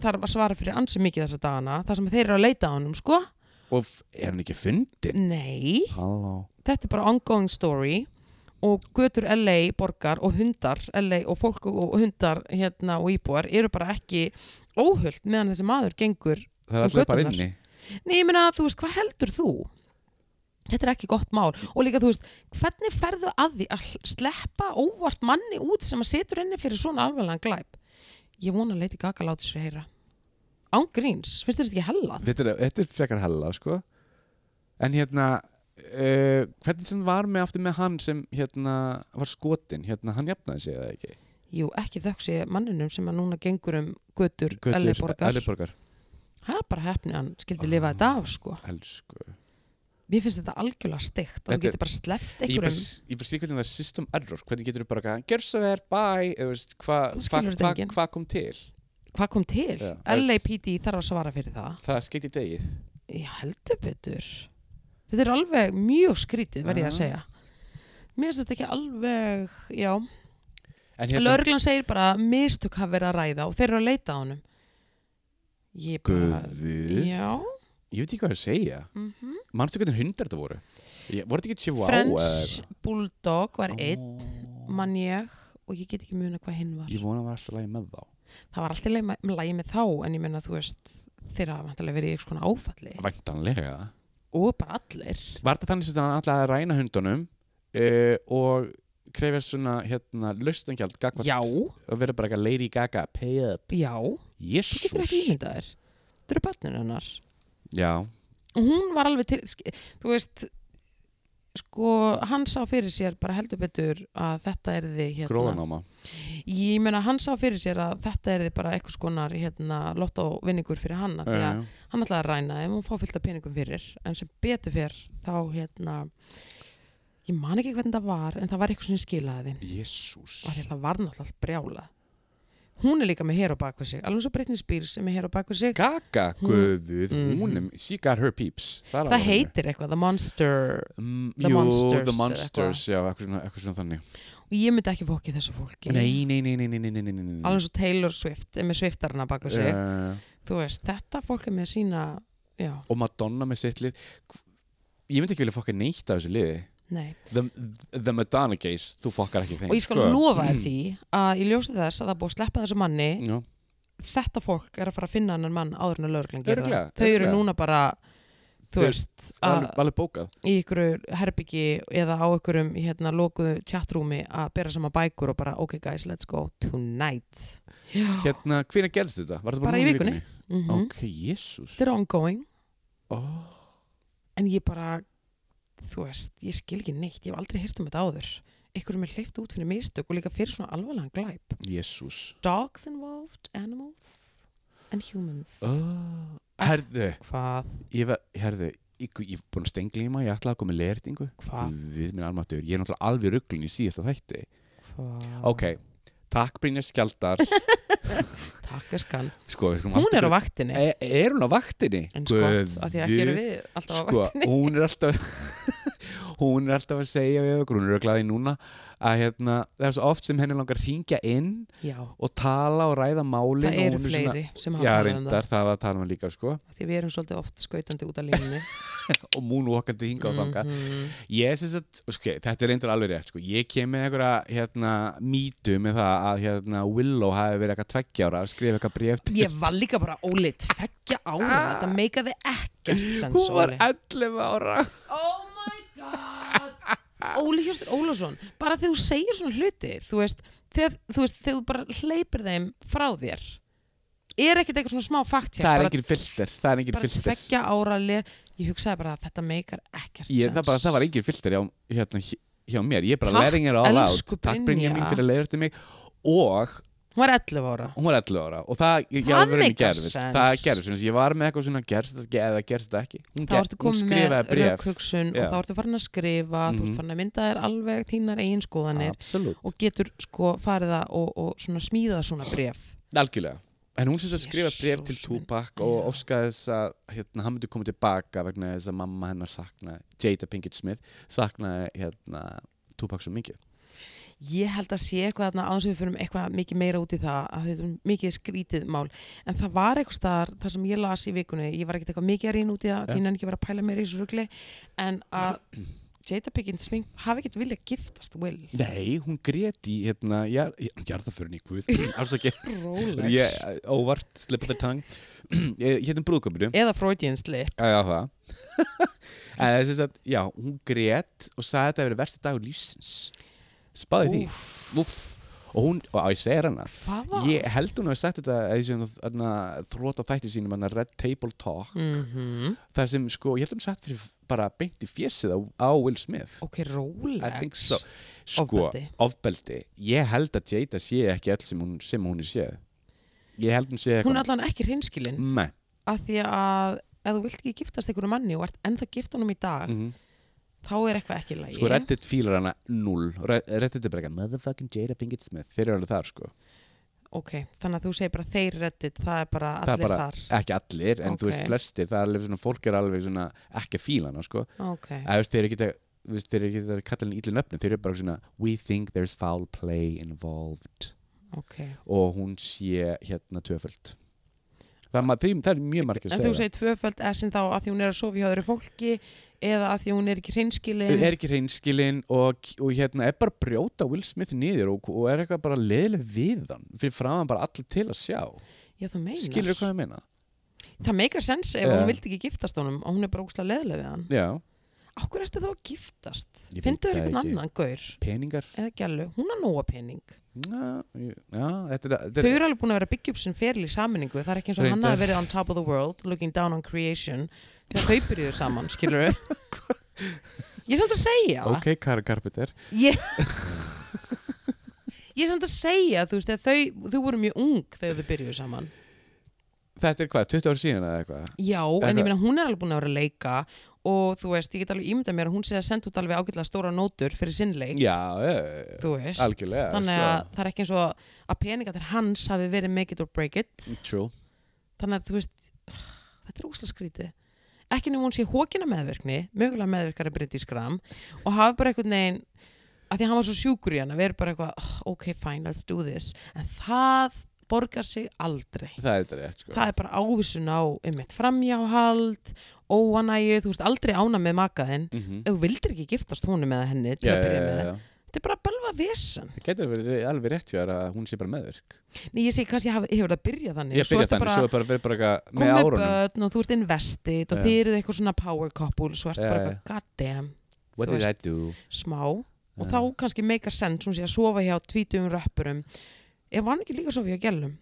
S1: þarf að svara fyrir ansi mikið þessa dagana, þar sem þeir eru að leita á honum, sko.
S2: og f- er hann ekki fundin?
S1: Nei,
S2: Halló
S1: þetta er bara ongoing story og götur LA borgar og hundar, LA og fólk og hundar hérna og íbúar eru bara ekki óhullt meðan þessi maður gengur.
S2: Það
S1: Um
S2: er allir bara
S1: göturnar.
S2: inni
S1: Nei, ég meina, þú veist, hvað heldur þú? Þetta er ekki gott mál og líka, þú veist, hvernig ferðu að því að sleppa óvart manni út sem að setur inni fyrir svona alvarlegan glæp? Ég vona að leiti Gaga láti sér heyra. Ángríns, finnst þér þetta ekki hella?
S2: þetta er, þetta er frekar hella, sko En hérna Uh, hvernig sem var með aftur með hann sem hérna var skotin hérna hann jafnaði sig eða ekki
S1: Jú, ekki þökk sé manninum sem að núna gengur um götur,
S2: Götur-
S1: elliborgar.
S2: Elliborgar.
S1: Það er bara hefni að hann skildi lifa þetta af, sko.
S2: elsku
S1: Mér finnst þetta algjörlega stygt og
S2: Þetta
S1: þú
S2: er-
S1: getur bara sleppt
S2: ég bara,
S1: einhverjum.
S2: ég bara skil hvernig það er system error hvernig getur þú bara að gjör svo verð, bye eða veist, hvað
S1: Það
S2: hva,
S1: skilur þetta
S2: hva,
S1: enginn.
S2: hva kom til
S1: Hvað kom til?
S2: Já, þú veist-
S1: LAPD þarf að svara fyrir það.
S2: það skeitt í degið
S1: Já, heldur betur. Þetta er alveg mjög skrítið, verð ég að
S2: Já.
S1: segja. Mér finnst þetta ekki alveg, já.
S2: en
S1: Hérna.
S2: hérna,
S1: Lörglan segir bara að mistök hafa verið að ræða og þeir eru að leita á honum. Ég bara...
S2: guðið
S1: Já.
S2: ég veit ekki hvað ég að segja
S1: Mm
S2: manstu hvernig hundar þetta voru ég, voru þetta ekki Chihuahua
S1: French Bulldog var einn,
S2: einn
S1: mann ég, og ég get ekki muna hvað hinn var.
S2: ég vona að það var alltaf lagi með þá
S1: Það var alltaf leið, lægi með þá, en ég meina, þú veist, þeir hafa vantarlega verið í eitthvað svona áfalli.
S2: væntanlega
S1: Og bara allir.
S2: var þetta þannig sem hann alltaf að ræna hundunum uh, og krefja svona hérna laustengjald gagvart
S1: Já,
S2: og verður bara eitthvað Lady Gaga pay up
S1: já. Þú getur ekki
S2: jésús
S1: ímyndað þér. Þú eru börnin hennar.
S2: já
S1: og hún var alveg til sk- þú veist sko, hann sá fyrir sér bara heldur betur að þetta er þið hérna,
S2: gróðanáma
S1: ég meina hann sá fyrir sér að þetta er þið bara eitthvað skonar hérna, lottóvinningur fyrir hann af því
S2: Eh.
S1: að hann ætlaði að ræna þeim og fá fyllt af peningum fyrir en sem betur fyrr þá hérna ég man ekki hvernig það var en það var eitthvað sem skilaði þeim
S2: jésús
S1: og af því að það var náttúrulega allt brjála hún er líka með hér á bakvið sig alveg svo Britney Spears sem er hér á bakvið sig
S2: Gaga,
S1: Hún-
S2: guðið,
S1: Mhm.
S2: hún er, she got her peeps Það, er á
S1: það
S2: hreinu.
S1: heitir eitthvað, The Monster
S2: Mm,
S1: The
S2: jú,
S1: Monsters
S2: The
S1: eða
S2: Monsters, já, eitthvað svona, eitthvað svona þannig
S1: og ég myndi ekki fókið þessu fólki
S2: Nei, nei, nei, nei, nei, nei, nei, nei, nei.
S1: alveg svo Taylor Swift er með Swiftarna baka sig
S2: Eh,
S1: þú veist, þetta fólk er með sína já,
S2: og Madonna með sitt lið Hv- ég myndi ekki vilja fokka neitt af þessu liði
S1: nei
S2: The, the Madonna case, þú fokkar ekki þeim sko. Mm.
S1: og ég skal lofa þér því að ég ljósi þess að það er búið að sleppa þessu manni
S2: Já,
S1: þetta fólk er að fara að finna annan mann áður en að lögreglan gera það
S2: Örugglega,
S1: þau eru
S2: örugglega.
S1: núna bara þú
S2: Þau-
S1: veist, að,
S2: alveg, alveg bókað
S1: í ykkur herbyggi eða á ykkurum hérna lokuðu tjattrúmi að bera saman bækur og bara ok guys, let's go tonight já,
S2: Hérna, hvernig gerðist þetta? Var þetta
S1: Bara
S2: bara,
S1: í
S2: núna
S1: vikunni. mhm.
S2: Ok, jésús
S1: þetta er ongoing
S2: oh.
S1: en ég bara, þú veist ég skil ekki neitt, ég hef aldrei heyrt um þetta áður ykkurum er hleyft út fyrir mistök og líka fyrir svona alvarlegan glæp
S2: Jésús
S1: dogs involved, animals and humans
S2: oh. Herðu,
S1: hvað,
S2: ég var, herðu Ég, ég er búin að stenglíma, ég ætlaði að koma með leirtingu
S1: hvað,
S2: Við minn almatur, ég er náttúrulega alveg rugglun í síðasta þætti
S1: hvað
S2: Ok, takk Brynjar Skjaldar
S1: takk er skan,
S2: sko, við skulum
S1: hún
S2: alltaf-
S1: er á vaktinni
S2: er, er hún á vaktinni?
S1: en skott, af því að ekki eru við alltaf á
S2: sko,
S1: vaktinni
S2: hún er alltaf hún er alltaf að segja við okkur, hún er glæði núna að hérna, það er svo oft sem henni langar að ringja inn
S1: já,
S2: og tala og ræða málin
S1: það
S2: og
S1: eru
S2: hún er
S1: fleiri sem hafa
S2: já,
S1: talað um það
S2: reyndar, það var að tala um líka sko
S1: af því við erum svolítið oft skautandi út af línunni
S2: og moonwalkandi hinga og þanga
S1: Mhm.
S2: ég syns að, ok, þetta er reyndar alveg rétt sko. ég kem með einhverja hérna, mýtu með það að hérna, Willow hafi verið eitthvað tveggja ára að skrifa eitthvað bréf til
S1: ég var líka bara Óli, tveggja ára
S2: Ah.
S1: þetta meikaði ekkert sens
S2: hún var
S1: Óli
S2: 11 ára
S1: oh my god Óli Hjóstur Ólafsson bara þegar þú segir svona hluti þú veist, þegar þú, veist, þegar þú bara hleypir þeim frá þér er ekkert eitthvað svona smá fakt
S2: það er engin filter, það er engin
S1: bara
S2: filter.
S1: tveggja ára le- ég hugsaði bara að þetta meikar ekkert
S2: ég,
S1: sens
S2: það, bara, það var engin filter hjá, hérna, hjá mér ég er bara
S1: Takk,
S2: letting it all out
S1: elsku
S2: takk Brynja mín
S1: Brynja.
S2: fyrir að leiða eftir mig og
S1: hún var 11 ára
S2: hún var 11 ára og það, ég,
S1: Það
S2: það alveg
S1: meikar
S2: gerðist
S1: sens.
S2: það gerðist, svona, ég var með eitthvað svona gerst þetta ekki eða gerst þetta ekki hún,
S1: þá
S2: ger-
S1: ertu
S2: hún
S1: komið með
S2: skrifaði bréf
S1: raukhugsun
S2: Já.
S1: og þá ertu farin að skrifa þú
S2: Mhm.
S1: ert farin að mynda þér alveg þínar eigin skoðanir
S2: absolutt,
S1: og getur sko farið að og, og svona smíða svona bréf
S2: algjörlega en hún syns að skrifa bréf til
S1: Jesús minn.
S2: Tupac og
S1: Já.
S2: óskaði þess að hérna, hann myndi koma tilbaka vegna þess að mamma hennar saknaði Jada Pinkett Smith saknaði hérna, Tupac svo mikið
S1: ég held að sé eitthvað þarna án sem við fyrir eitthvað mikið meira út í það að þetta er mikið skrítið mál en það var eitthvað staðar, það sem ég las í vikunni ég var ekkert eitthvað mikið að rýna út í það
S2: Já.
S1: þín en ekki var að pæla meira í þessu rugli en að Jada Pinkett Smith hafi ekkert viljað giftast Will
S2: nei, hún grét í hérna, jar, jarðaförunni, guð afsakið
S1: Rolex
S2: ég, óvart, slip of the tongue ég hérna brúðköpinu
S1: eða Freudian slip
S2: já, já, það en það er sem sagt, já, hún grét og sagði að þetta hefur verið versti dagur lífsins spáði því Úf. og hún, og ég segir hana
S1: hvaða?
S2: ég held hún hafi sagt þetta að þessum þarna, þróta þætti sínum hana, Red Table Talk
S1: mm
S2: þar sem sko, ég held hún sagt fyrir bara beint í fjesið á, á Will Smith
S1: ok, Rolex
S2: I think so sko,
S1: Ofbeldi.
S2: ofbeldi ég held að Jada sé ekki all sem hún, sem hún er séð ég held hún
S1: hún er
S2: sé eitthvað
S1: allan ekki hreinskilin
S2: Nei.
S1: af því að ef þú vilt ekki giftast einhverju manni og ert ennþá giftanum í dag
S2: Mhm.
S1: þá er eitthvað ekki í lagi
S2: Sko Reddit fílar hana null Re- Reddit er bara eitthvað Motherfucking Jada Pinkett Smith Þeir eru alveg þar sko
S1: ok, þannig að þú segir bara þeir reddit það er bara
S2: Það er
S1: allir
S2: bara- Ekki allir en þú
S1: Ok.
S2: veist flestir Það er alveg svona Fólk er alveg svona Ekki að fíla hana sko
S1: þar ok,
S2: Eða þú veist þeir eru ekki að þú veist, Þeir eru ekki að kalla henni ítlu nöfnum Þeir eru bara svona We think there's foul play involved
S1: ok
S2: Og hún sé hérna tvöföld Það, er ma- þeim, það er mjög margir
S1: en
S2: að
S1: þú
S2: segja
S1: segir tvöföld essin þá að því hún er að sofa hjá öðru fólki eða að því hún er ekki hreinskilin
S2: það Er ekki reynskilin og, og hérna er bara að brjóta Will Smith niður og, og er eitthvað bara leðileg við hann Fyrir framan bara allir til að sjá
S1: já þú meinar,
S2: Skilur hvað ég meina?
S1: það meikar sens ef
S2: Já.
S1: hún vildi ekki giftast honum og hún er bara ógustlega leðlega við hann
S2: Já
S1: okkur ertu þá að giftast
S2: Ég veit
S1: finnstu þér
S2: það
S1: einhvern
S2: ekki.
S1: annan gaur
S2: peningar
S1: eða gælu, hún er nóa pening
S2: já, ég- já, þetta er, þetta
S1: þau
S2: er
S1: eru alveg búin að vera að byggja upp sinn feril í sammenningu það er ekki eins og hann
S2: Reyndar.
S1: hafi verið on top of the world looking down on creation þegar þau byrjuðu saman, skilur ég er samt að segja
S2: ok, Kara Carpenter
S1: ég ég er samt að segja þú veist, þegar þau, þau voru mjög ung þegar þau byrjuðu saman
S2: þetta er hvað, 20 ára síðan eða eitthvað
S1: já, en ég meina hún er alveg búin að vera að leika og þú veist, ég get alveg ímyndað mér að hún sé að senda út alveg ágætlega stóra nótur fyrir sinnleik
S2: já, eh,
S1: þú veist,
S2: Algjörlega,
S1: þannig að
S2: sko.
S1: það er ekki eins og að peningatir hans hafi verið make it or break it
S2: true
S1: þannig að þú veist þetta er ósla skrítið ekki nefnum hún sé hókina meðverkni mögulega meðverkara Bryndís Gram og hafa bara einhvern veginn að því að hann var svo sjúkur í hana við erum bara eitthvað, "Ah, ok fine, let's do this en það borgar sig aldrei
S2: það er þetta rétt sko.
S1: það er bara ávísun á einmitt framjáhald óanægju, þú veist aldrei ána með makaðinn
S2: mm -hmm.
S1: ef þú vildir ekki giftast honum eða henni til
S2: já,
S1: að
S2: já,
S1: byrja með
S2: já,
S1: það
S2: já.
S1: þetta er bara balva vesen
S2: það getur verið alveg rétt hjá þér að hún sé bara meðverk
S1: Nei, ég segi kannski að hafa- hefur það byrjað þannig
S2: ég
S1: svo
S2: byrja
S1: ertu
S2: þannig,
S1: bara
S2: svo er bara verið bara eitthvað með
S1: komið
S2: árunum
S1: börn og þú ert investið og
S2: Já.
S1: þið eruð eitthvað svona power couple svo ertu
S2: Já,
S1: bara
S2: já.
S1: eitthvað, god damn
S2: what
S1: þú
S2: did I do
S1: smá og þá kannski meikar sens hún sé að sofa hjá tvítum röppurum ef hann ekki líka að sofa hjá gælum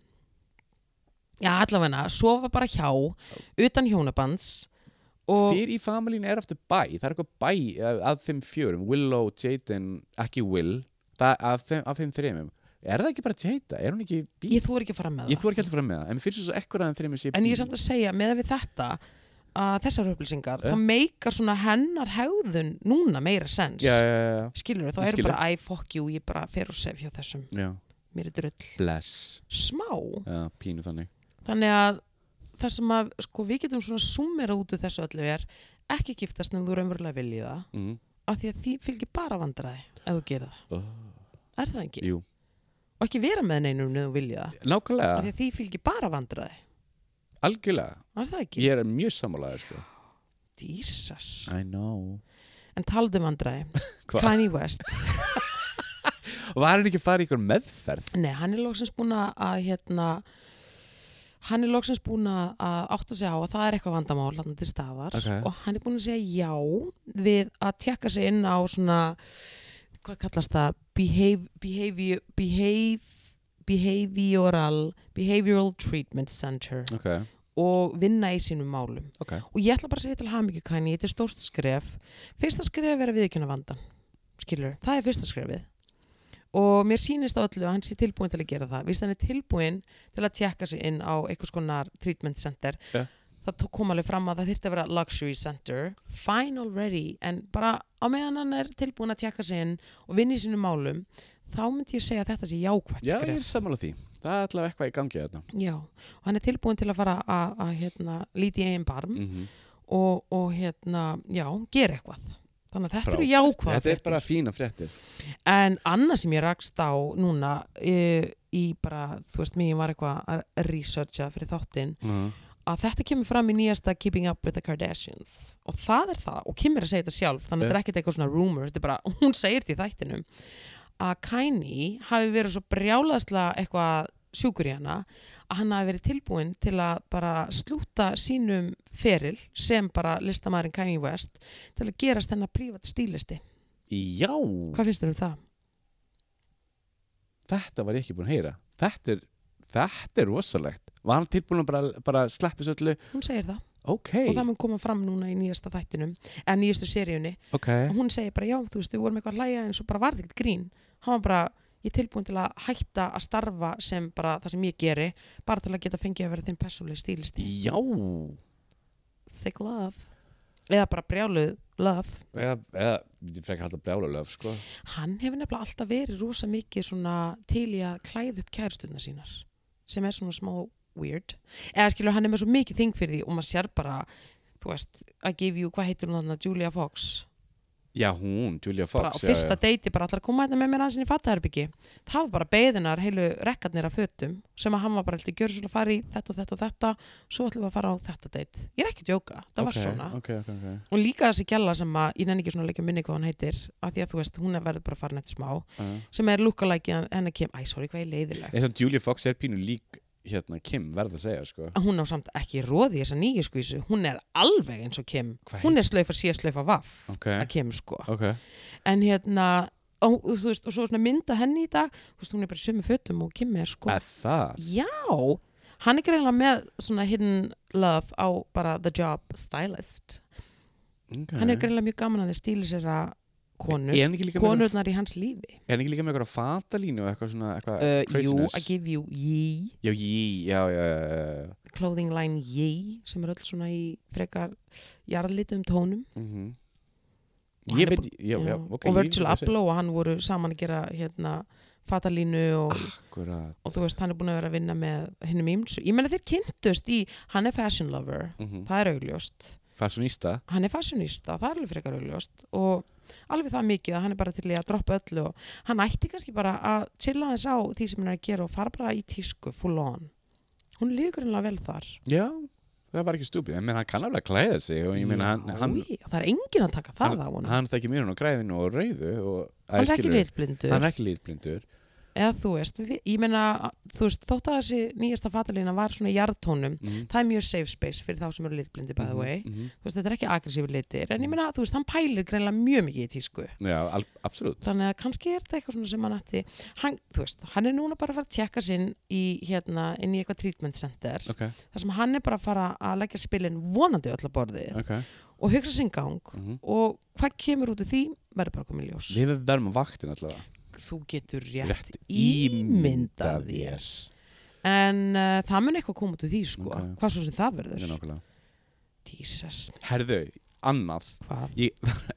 S1: já allavega sofa bara hjá utan hjónabands og
S2: Þýr í familínu er aftur bæ Það er eitthvað bæ að, að þeim fjörum Willow, Jaden, ekki Will það, af, þeim, af þeim þreymum Er það ekki bara Jada? Er hún ekki bí?
S1: ég þú er ekki að fara með
S2: Ég þú ekki heldur fram með það En mér finnst þess að ekkur að þeim þreymur sé
S1: það en
S2: bí
S1: ég er samt að segja með við þetta að þessar upplýsingar,
S2: Eh?
S1: þá meikar svona hennar hegðun núna meira sens
S2: Já, já, já,
S1: skilur þú, þá
S2: Ég
S1: eru
S2: skil
S1: bara æ, fuck you, ég bara fer og sef hjá þessum
S2: já, já.
S1: mér er drull,
S2: Bless
S1: smá
S2: Já, pínu þannig
S1: þannig að það sem að sko, við getum svona summera út úr þessu öllu er ekki giftast en þú raunverulega viljið það
S2: mm.
S1: af því að því fylgir bara vandræði ef þú gerir það,
S2: oh.
S1: er það ekki?
S2: Jú.
S1: og ekki vera með neinum ef þú viljið það af því
S2: Nákvæmlega,
S1: að því fylgir bara vandræði
S2: algjörlega
S1: er það ekki?
S2: Ég er mjög sammálaður sko
S1: Jesus
S2: I know
S1: en taldu um vandræði,
S2: Hva?
S1: Kanye West
S2: Var hann ekki að fara í ykkur meðferð?
S1: nei, hann er loksins búin að hérna hann er loksins búin að að átta sig á að það er eitthvað vandamál hann til staðar
S2: Ok.
S1: og hann er búin að segja já við að tjekka sig inn á svona hvað kallast það behave, behavior, behave, behavioral behavioral treatment center
S2: Ok,
S1: og vinna í sínum málum
S2: ok
S1: og ég ætla bara að segja til hamingju kanni þetta er stórt skref fyrsta skref er að viðkjöna vandan skilur, það er fyrsta skrefið og mér sýnist á öllu að hann sé tilbúin til að gera það víst hann er tilbúin til að tjekka sig inn á einhvers konar treatment center
S2: Ja.
S1: það tók kom alveg fram að það þyrfti að vera luxury center fine already en bara á meðan hann er tilbúin að tjekka sig inn og vinna í sínum málum þá myndi ég segja að þetta sé jákvætt
S2: Já,
S1: skref
S2: ég er sammála því Það er allavega eitthvað í gangi þetta
S1: Já, og hann er tilbúin til að fara að að, hérna, líti í eigin barm
S2: mm -hmm.
S1: og, og hérna, já, gera eitthvað þannig að þetta eru
S2: Frábært.
S1: jákvæða
S2: Þetta er bara fína fréttir
S1: en annað sem ég rakst á núna uh, í bara, þú veist, mér var eitthvað að researcha fyrir þáttinn
S2: mm.
S1: að þetta kemur fram í nýjasta Keeping Up with the Kardashians og það er það, og Kim er að segja þetta sjálf þannig að
S2: Ja.
S1: þetta er ekkert eitthvað svona rumor þetta er bara, hún segir þetta í þættinum að Kanye hafi verið svo brjálaðslega eitthvað sjúkur í hana að hann hafi verið tilbúin til að bara slúta sínum feril sem bara listamæðurinn Kanye West til að gerast hennar prívat stílisti
S2: Já,
S1: hvað finnst þér um það?
S2: þetta var ég ekki búin að heyra Þetta er, þetta er rosalegt Var hann tilbúin að bara, bara sleppa þessu öllu
S1: Hún segir það
S2: Ok,
S1: og það mun koma fram núna í nýjasta þættinum en nýjastu seríunni
S2: ok
S1: og hún segir bara já, þú veist, við vorum eitthvað að hlæja en svo bara varði ekkert grín hann var bara, ég er tilbúin til að hætta að starfa sem bara það sem ég geri bara til að geta fengið að vera þinn persónlega stílisti
S2: Já
S1: sick love eða bara brjáluð love
S2: Eða, eða ég frekar alltaf brjála löf sko
S1: hann hefur nefnilega alltaf verið rosa mikið svona til í að klæða upp kærstuna sínar sem er svona smá weird eða skilur hann er með svo mikið þing fyrir því og maður sér bara þú veist, að give you, hvað heitir hún þarna Julia Fox,
S2: Já, hún, Julia
S1: bara á
S2: Fox já,
S1: fyrsta
S2: já.
S1: deiti bara allar að koma hérna með mér aðeins inn í fattaherbyggi það var bara beðinar heilu rekkarnir af fötum sem að hann var bara alltaf gjörð svolítið að fara í þetta og þetta og þetta svo ætlum við að fara á þetta deit ég er ekki að djóka, það var
S2: Ok,
S1: svona
S2: Ok, ok, ok
S1: og líka þessi gjalla sem að ég nenni ekki svona að leika minni hvað hann heitir af því að þú veist, hún er verður bara farin eftir smá
S2: uh.
S1: sem er lúkalæki hennar kem, æ, sorry, hvað ég er leiðileg
S2: Eða Julia Fox er pínu lík hérna Kim, verð að segja sko
S1: hún á samt ekki róði þessa nýju skvísu hún er alveg eins og Kim
S2: Hvað
S1: hún er slaufa síðan slaufa vaff
S2: Ok,
S1: að Kim sko
S2: ok
S1: en hérna ó, þú veist, og svo svona mynda henni í dag þú veist, hún er bara í sömu fötum og Kim er sko
S2: Eða það
S1: já, hann er greinlega með svona hidden love á bara the job stylist
S2: okay.
S1: hann er greinlega mjög gaman að þið stíli sér að konur,
S2: Er hann ekki líka með-
S1: konurnar í hans lífi
S2: er hann ekki líka með eitthvað fatalínu og eitthvað svona eitthvað
S1: uh, jú,
S2: craziness?
S1: I give you ye
S2: Já, jí, já, já, já, já, já.
S1: clothing line Ye sem er öll svona í frekar jarðlitum tónum
S2: Mhm.
S1: Og
S2: Ég
S1: hann er
S2: veit, já, já, ok
S1: og
S2: ég veit
S1: Virgil
S2: hvað þú segir.
S1: Abloh og hann voru saman að gera hérna fatalínu og,
S2: Akkurat
S1: og þú veist hann er búin að vera að vinna með hinnum ímsu, ég meina þeir kynntust í hann er fashion lover,
S2: mm -hmm.
S1: það er augljóst
S2: Fashionista
S1: hann er fashionista, það er alveg frekar augljóst og alveg það mikið að hann er bara til í að droppa öllu og hann ætti kannski bara að chilla þess á því sem hann er að gera og fara bara í tísku full on hún líður einlega vel þar
S2: Já, það var ekki stúpið, en menn hann kann alveg að klæða sig og ég meina hann,
S1: Já,
S2: hann,
S1: í, það er enginn að taka það á
S2: hann,
S1: hún
S2: hann þekki mér hann á græðinu og rauðu og Æ,
S1: hann er ekki
S2: skilurðu,
S1: litblindur
S2: Hann er ekki litblindur
S1: eða þú veist, við, ég meina þú veist, þótt að þessi nýjasta fatalina var svona í jarðtónum,
S2: mm.
S1: það er mjög safe space fyrir þá sem eru litblindi by the way
S2: mm
S1: þú veist, þetta er ekki aggressífur litir, en ég meina þú veist, hann pælir greinlega mjög mikið í tísku
S2: Já, al, absolutt
S1: þannig að kannski er þetta eitthvað svona sem hann ætti hann, þú veist, hann er núna bara að fara að tjekka sinn í hérna, inn í eitthvað treatment center
S2: Ok,
S1: þar sem hann er bara að fara að leggja spilin vonandi öll að borði
S2: ok
S1: og hugsa sinn gang
S2: mm -hmm.
S1: og hvað kemur út úr því, verður bara komið ljós
S2: Við verðum á vaktin allavega
S1: þú getur rétt, ímyndað þér en uh, það mun eitthvað koma út úr því sko
S2: Ok.
S1: hvað svo sem það verður
S2: Já, nákvæmlega.
S1: Jesus,
S2: Herðu, annað
S1: hvað?
S2: Ég,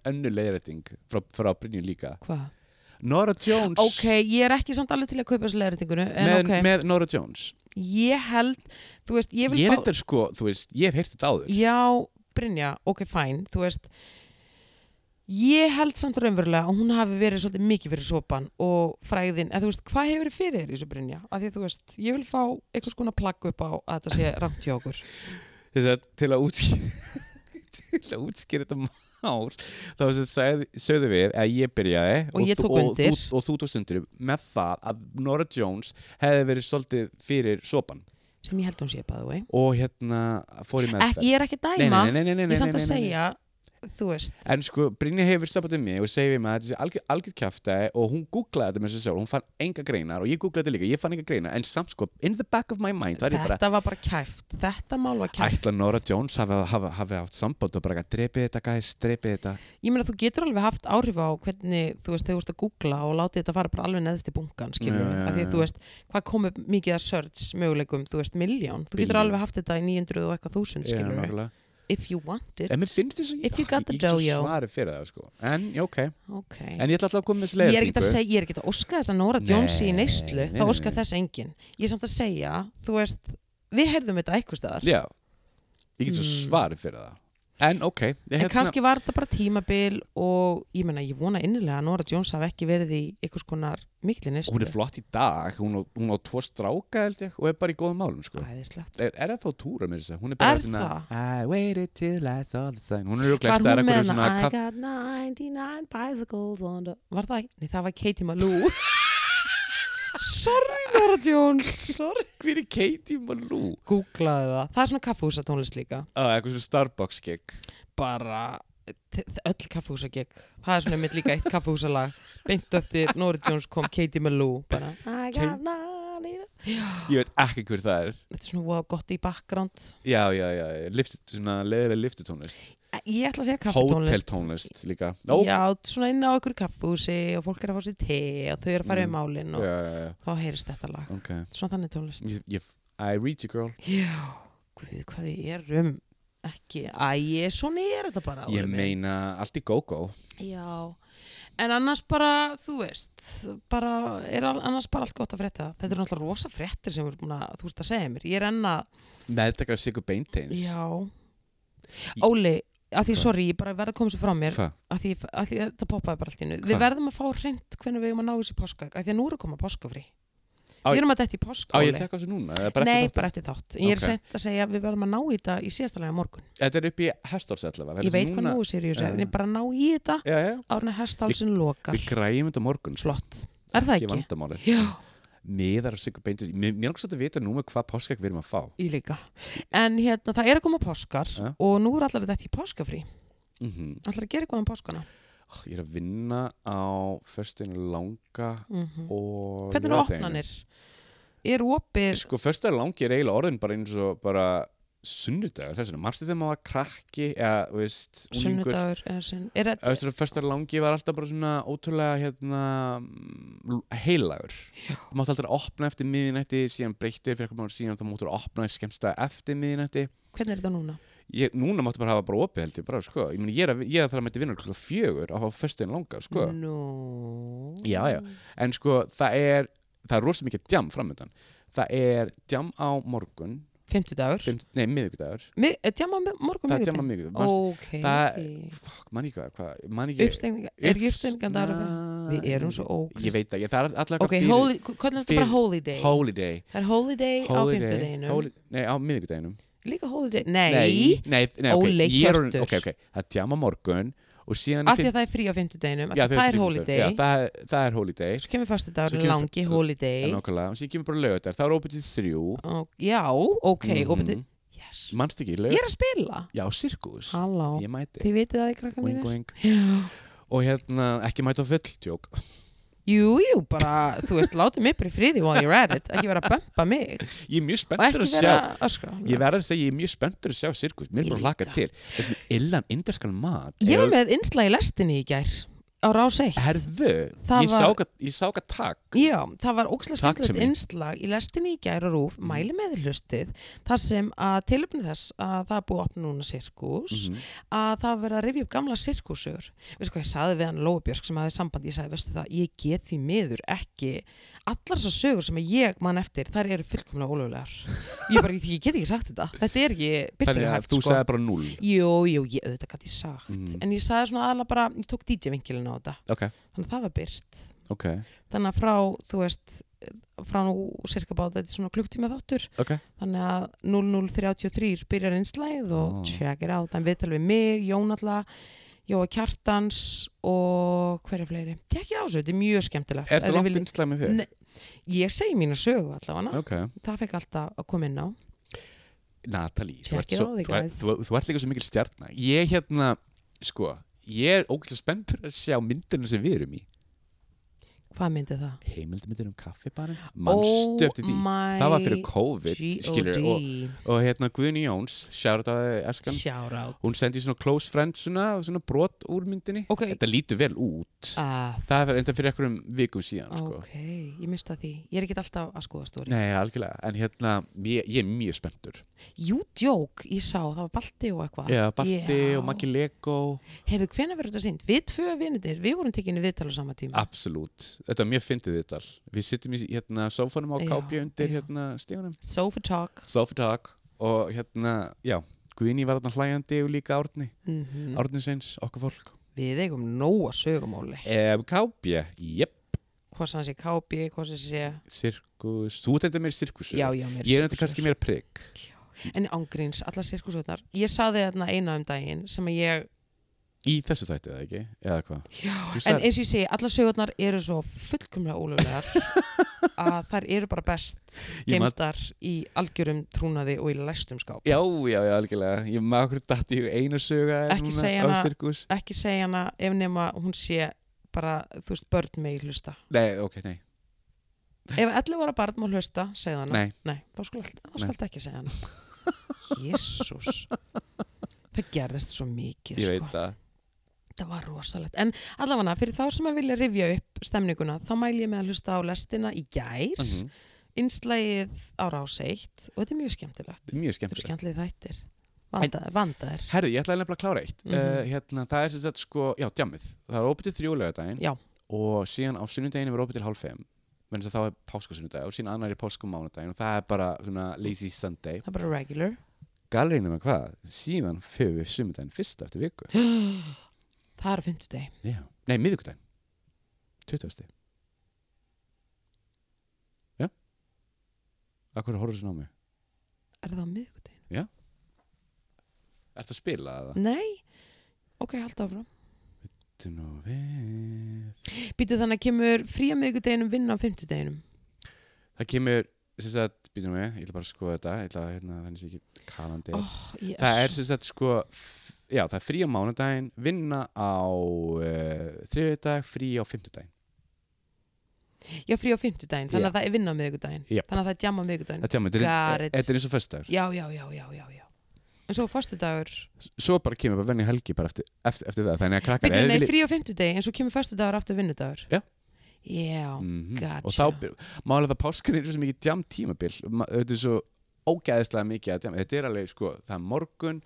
S2: önnu leiðræting frá, frá Brynju líka
S1: Hva?
S2: Nora Jones
S1: ok, ég er ekki samt alveg til að kaupa þessu leðritingunni en
S2: með,
S1: ok,
S2: með Nora Jones
S1: ég held þú veist, ég vil
S2: Ég er
S1: fá
S2: þetta sko, þú veist, ég hef heyrt þetta áður
S1: já, Brynja, ok, fæn þú veist ég held samt raunverulega að hún hafi verið svolítið mikið fyrir sopan og fræðin en þú veist, hvað hefur verið fyrir þér í þessu Brynja að því að þú veist, ég vil fá eitthvað skona plagg upp á að þetta sé rangt hjá okkur
S2: þess að til að útskýra til að útskýra þetta mál þá sem sagði, sögðu við að ég byrjaði
S1: Og ég
S2: þú-
S1: tók
S2: og,
S1: undir.
S2: þú, og þú tókst undir með það að Nora Jones hefði verið svolítið fyrir sopan
S1: sem ég held hún sé bæðu vei
S2: og hérna fór í með
S1: Ek, ég er ekki að dæma
S2: nei, nei, nei,
S1: ég er samt að segja þú veist,
S2: En sko, Brynja hefur sambandið mig og segir við mig að þetta sé algjör, algjör kjaftaði og hún googlaði þetta með þessu sjálf, hún fann enga greinar og ég googlaði þetta líka, ég fann enga greinar en samt sko, in the back of my mind var ég bara,
S1: þetta var bara kæft þetta mál var kæft
S2: ætla Nora Jones hafi, hafi, hafi átt samband og bara drepið þetta gæs, drepið þetta
S1: ég meina þú getur alveg haft áhrif á hvernig þú veist, þegar þú veist að googla og láti þetta fara bara alveg neðst í bunkan, skilur
S2: Já, já,
S1: af því
S2: já.
S1: að þú veist, hvað komið mikið að search möguleikum, þú veist, miljón, þú getur
S2: Billion.
S1: alveg haft þetta í 900 og eitthvað þúsund,
S2: Já,
S1: skilur
S2: nákvæmlega.
S1: if you want it,
S2: En mér finnst þess að
S1: If you got the
S2: ég get
S1: dojo.
S2: svarið fyrir það sko. En, já, ok,
S1: ok
S2: en ég ætla alltaf að koma með
S1: ég
S2: sleiðbyggu
S1: er ekki að segja, ég er ekki að óska þess að Nora Jones sé í
S2: Nei,
S1: neyslu,
S2: nei,
S1: þá
S2: nei,
S1: óskar
S2: nei.
S1: þess engin ég er samt að segja, þú veist við heyrðum þetta eitthvað staðar
S2: Já, ég get svo
S1: Mm.
S2: svarið fyrir það En, ok, ég hérna,
S1: En kannski var þetta bara tímabil og ég meina, ég vona innilega að Nora Jones hafi ekki verið í einhvers konar mikli neyslu.
S2: Hún er flott í dag, hún á, hún á tvo stráka held ég og er bara í góðum málum sko.
S1: Æðislegt.
S2: er, er það þá túra mér þess að hún er bara
S1: Er
S2: svona
S1: það?
S2: I waited till I saw the sun hún er rúglega
S1: Var hún
S2: stæðar eitthvað
S1: með
S2: svona
S1: hana, I
S2: kaff...
S1: got 99 bicycles on the... Var það ekki? Nei, það var Katie Malou. sorry, Nora Jones, sorry.
S2: hver er Katie Malou?
S1: Googlaði það. Það er svona kaffúsa tónlist líka.
S2: Uh, eitthvað svona Starbucks gig
S1: Bara t- öll kaffúsa gegn. Það er svona mitt líka eitt kaffúsa lag. Beint eftir Nora Jones kom Katie Malou. Bara, I
S2: Ka-
S1: got 99...
S2: ég veit ekki hver það er
S1: Þetta er svona voða gott í bakgránd.
S2: já, já, já, lift, svona leðilega liftutónlist
S1: Ég ætla að segja kaffutónlist.
S2: hóteltónlist líka Ó,
S1: Já, svona inn á ykkur kaffúsi og fólk er að fá sér te og þau eru að fara mm.
S2: Mm.
S1: um málin og
S2: já, já, já,
S1: þá heyrist þetta lag.
S2: ok
S1: Svona þannig tónlist.
S2: ég, ég, I read you girl
S1: Já, guð, hvað ég er um ekki, æ, svona er þetta bara
S2: ég
S1: Óli minn.
S2: meina allt í go-go
S1: Já, en annars bara, þú veist bara, er al- annars bara allt gott að frétta þetta er náttúrulega rosa fréttir sem við erum búin að, þú veist að segja mér, ég er enn að
S2: meðtaka Sigur Beinteins
S1: Já,
S2: Í-
S1: Óli að því,
S2: Hvað?
S1: sorry, ég bara verð að koma sér frá mér
S2: Hva?
S1: að því, að því þetta poppaði bara allt í nu
S2: Hvað?
S1: Við verðum að fá hreint hvernig við erum að ná þessi páskag að því að nú er að koma páskafri
S2: Á,
S1: Við erum að dætti pásk,
S2: á ég
S1: Óli
S2: að tekka þessu núna? Eða bara
S1: Nei,
S2: eftir þáttinn?
S1: bara eftir þátt Ég er
S2: Ok.
S1: sent að segja að við verðum að ná í þetta í síðasta lega morgun
S2: þetta er upp í hestáls allavega
S1: Ég
S2: Þessi
S1: veit hvað nú er seriós
S2: Já.
S1: er, en ég bara ná í þetta
S2: já, já.
S1: árna hestálsinn lokar.
S2: við græjum þetta á morgun sko.
S1: Flott. Er það
S2: ekki
S1: ekki?
S2: vandamáli
S1: Já,
S2: miðar og sigur beintist mér mér langar svolítið að vita nú með hvað páskak við erum að fá
S1: ég líka. En hérna, það er að koma páskar
S2: Ja.
S1: og nú er allar þetta í páskafrí.
S2: mm
S1: Allar að gera eitthvað um páskana.
S2: ég er að vinna á föstudaginu langa
S1: Mm
S2: og
S1: Hvernig eru
S2: laugardaginn.
S1: opnanir? Er opið,
S2: sko föstudaginu langi er eiginlega orðin bara eins og bara sunnudagur þess vegna marstu þegar maður var krakki eða þú veist unglingur.
S1: sunnudagur, eða sinn, er þetta,
S2: Þess að föstudaginu langi var alltaf bara svona ótrúlega hérna l- heilagur
S1: Já.
S2: mátt alltaf að opna eftir miðinætti síðan breyttur fyrir eitthvað maður síðan þá máttu að opna í skemmsta eftir miðinætti
S1: hvernig er þetta núna?
S2: ég, núna máttu bara hafa bara opið held ég bara, sko. ég, meni, ég er að, ég er að það mætti vinna klokka fjögur á fyrstin langa, sko
S1: Mm. Nú.
S2: Já, já. en sko, það er það er rosa mikið djam framöndan það er djam á morgun
S1: Fymtudagur?
S2: fimm, nei, miðvikudagur
S1: Mi- eh, Djamma mi- morgun
S2: það er
S1: miðvikudag?
S2: djama miðvikudagur
S1: Ok.
S2: það- Fuck, man ekki hvað, hvað, man ekki
S1: Uppstegninga, er ekki uppstegningandagur? að vera?
S2: Nei,
S1: Við erum svo
S2: Ég
S1: ókrist.
S2: veit ekki, það er allavega
S1: Ok, holy, hvernig er þetta bara
S2: fyrir-
S1: holy day?
S2: holy day
S1: Það er holy day á
S2: Holiday,
S1: fymtudaginu.
S2: holi- Nei, á miðvikudeginum
S1: Líka holy day? Nei,
S2: nei, nei ok,
S1: Óli
S2: ég er orðin-
S1: Hjörtur.
S2: Ok, ok, það er djama morgun og síðan
S1: af því að það er frí á fymtudaginum,
S2: Já,
S1: af því að það er holy
S2: þriðjudagur.
S1: day.
S2: Já, það, er- það er holiday
S1: Svo kemur fastudagur,
S2: Svo kemur
S1: langi
S2: föstudagur.
S1: holy
S2: okay.
S1: day.
S2: Nákvæmlega, og síðan kemur bara lögutar Það er opið til þrjú
S1: Ó, Já, ok,
S2: Mhm.
S1: og betur, yes.
S2: Manstu ekki,
S1: Ég
S2: lögutar
S1: er að spila.
S2: Já, sirkus
S1: Halló,
S2: Ég mæti
S1: þið vitið það í krakka
S2: Oing,
S1: mínir?
S2: oing.
S1: Já.
S2: Og hérna, ekki mæta á full Tjók
S1: Jú, jú, bara, þú veist, látið mig bara í friði while you're at it, ekki vera að bömpa mig
S2: Ég er mjög
S1: og
S2: spenntur
S1: ekki
S2: að
S1: vera að sko.
S2: sjá
S1: öskra.
S2: Ég verður að segja, ég er mjög spenntur að sjá sirkus Mér er
S1: Ég
S2: bara að laka
S1: líka.
S2: til Þessum illan inderskan mat
S1: Ég var
S2: er-
S1: með inslag í lestinni í gær á rás 1
S2: Herðu,
S1: Það var-
S2: ég sá hvað- ég sá hvað takk
S1: Já, það var ókslega
S2: Takk Mhm. til
S1: skemmtilegt
S2: mín.
S1: inslag í lestinni í gær og rúf, mæli með hlustið þar sem að tilöfni þess að það er búið að opna núna sirkus
S2: Mhm.
S1: að það var verið að rifja upp gamla sirkusugur veistu hvað ég saði við hann Lóabjörg sem hafði samband, ég saði, veistu það, ég get því miður ekki, allar þessar sögur sem ég man eftir, þær eru fullkomlega ólögulegar ég bara, ég get ekki sagt þetta þetta er ekki
S2: Þannig að
S1: byrtingarhæft
S2: þú
S1: sko.
S2: sagði bara null
S1: jú, jú, ég, auðvitað gæti ég sagt
S2: Mhm.
S1: en ég saði svona aðla bara, ég tók DJ-vinkilin á þetta
S2: Ok,
S1: þannig að það var byrt
S2: ok,
S1: þannig að frá, þú veist frá nú cirka báta, þetta er svona klukktíma þáttur
S2: ok
S1: þannig að 0033 byrjar einslæð og
S2: Ó.
S1: check it out en við talum við mig, Jón alla Jóa Kjartans og hverja fleiri, tekja á þessu, þetta er mjög skemmtilegt
S2: Er það
S1: Ef þið
S2: langt
S1: viljið-
S2: innslæg með þig?
S1: Nei. ég segi mínu sögu allavega
S2: Ok
S1: það fekk alltaf að koma inn á
S2: Natalie, þú ert,
S1: Check it
S2: svo,
S1: out,
S2: þú, ert,
S1: guys.
S2: þú, þú ert líka svo mikil stjarnar Ég hérna, sko Ég er ógæslega spenntur að sjá myndina sem við erum í
S1: hvað myndi það? Oh
S2: Heimildmyndir um kaffibarinn Manstu eftir því Það var fyrir COVID, skilur og,
S1: G.O.D.
S2: og hérna Guðni Jóns, sjárat að eskan
S1: shout out
S2: Hún sendi svona close friends svona, svona brot úr myndinni
S1: Ok.
S2: Þetta lítur vel út
S1: ah,
S2: Það er enda fyrir einhverjum vikum síðan sko.
S1: ok, ég mista því ég er ekki alltaf að skoða stóri
S2: Nei, algjörlega, en hérna ég, ég er mjög spenntur
S1: jú, djók, ég sá, það var Balti og eitthvað
S2: Já, Balti
S1: Já.
S2: og Maggi Lego
S1: Heyrðu, hvenær verður þetta sínt? Við tvö vinnitir, við vorum tekinni viðtal á sama tíma.
S2: Ah. Absolutt, þetta er mjög fyndið þetta Við sittum í hérna sófanum á
S1: Já,
S2: kápju undir
S1: já.
S2: hérna stígunum
S1: Sofa talk.
S2: Sofatak og hérna, já Guðni var þarna hlæjandi og líka Árni
S1: Mm
S2: Árni Sveins, okkar fólk
S1: Við eigum nóga sögumóli.
S2: um, Kápja, jep,
S1: Hvort sem það sé KB, hvort sem það sé...
S2: sirkus Þú tættir meir sirkus
S1: Já, já, mér
S2: Ég er þetta
S1: sirkusar.
S2: kannski meir prigg
S1: En ángríns, alla sirkusvöldar. Ég saði þarna eina um daginn sem að ég...
S2: Í þessu þætti eða ekki, eða hvað
S1: Já,
S2: Þú
S1: en
S2: sagðir-
S1: eins og ég segi, alla sögurnar eru svo fullkomlega ólöflegar að þær eru bara best
S2: Ég man-
S1: gemdar í algjörum trúnaði og í læstum skáp.
S2: Já, já, já, algjörlega Ég maður okkur datt í einu söga
S1: Ekki
S2: núna
S1: segja
S2: á
S1: hana-
S2: sirkus
S1: Ekki segja hana ef nema hún sé bara, þú veist, börn með í hlusta.
S2: Nei, ok, nei
S1: Ef 11 ára barn má hlusta, segð hana.
S2: Nei.
S1: þá skalt, þá
S2: Nei.
S1: skalt ekki segja hana. Jésús. Það gerðist svo mikið,
S2: Ég veit
S1: sko.
S2: það
S1: Það var rosalegt. En allavega, fyrir þá sem að vilja rifja upp stemninguna, þá mæl ég með að hlusta á lestina í gær,
S2: mm
S1: innslægið á ráseitt og þetta er mjög skemmtilegt.
S2: Mjög
S1: Þetta er
S2: skemmtilegt
S1: skemmtileg þættir. Vandaðir, vandaðir.
S2: Herru, ég ætlaði nefnilega að klára eitt
S1: Mhm.
S2: uh, hérna, Það er sem sagt sko, já, djamið Það er opið til þrjú lögadaginn
S1: Já.
S2: Og síðan á sunnudeginu er opið til hálfum Menns að þá er páskasunnudag og síðan annar er páskum mánudaginn Og það er bara svona lazy sunday
S1: Það er bara regular.
S2: Galerinu með hvað? Síðan fyrir við sunnudaginn fyrst eftir viku
S1: Það er á fimmtudegi.
S2: Já, nei, miðvikudaginn 20. Já Akkur horfður þessi á mig?
S1: Er það á miðgudegi?
S2: Ertu að spila það?
S1: Nei. Ok, halda áfram.
S2: Ertu nú við
S1: Býtu þannig að kemur frí að miðgudeginum vinna á fimmtudeginum.
S2: Það kemur, sem sagt, býtum við, ég ætla bara að skoða þetta, ég ætla að, hérna, þannig sé ekki kalandi.
S1: Oh, yes.
S2: það er sem sagt, sko, f- já, það er frí á mánudaginn, vinna á uh, þriðudag, frí á fimmtudaginn.
S1: Já, frí á fimmtudaginn, þannig
S2: Já.
S1: að það er vinna á miðvikudaginn
S2: Jep.
S1: Þannig að það er djamma á miðvikudaginn
S2: Þetta, já, Eh, þetta
S1: Got
S2: er-
S1: it.
S2: þetta er eins og föstudagur.
S1: Já, já, já, já, já, já En svo föstudagur
S2: Svo bara kemur bara venni helgi bara eftir, eftir, eftir það, þannig að krakkar...
S1: Byrju, nei, frí á fimmtudegi, en svo kemur föstudagur aftur vinnudagur
S2: Já.
S1: Já,
S2: mm
S1: Oh, gotcha.
S2: Og þá, byr- málega það páskan er svo mikið djam tímabil, Ma- þetta er svo ógæðislega mikið að djam, þetta er alveg, sko, það er morgun,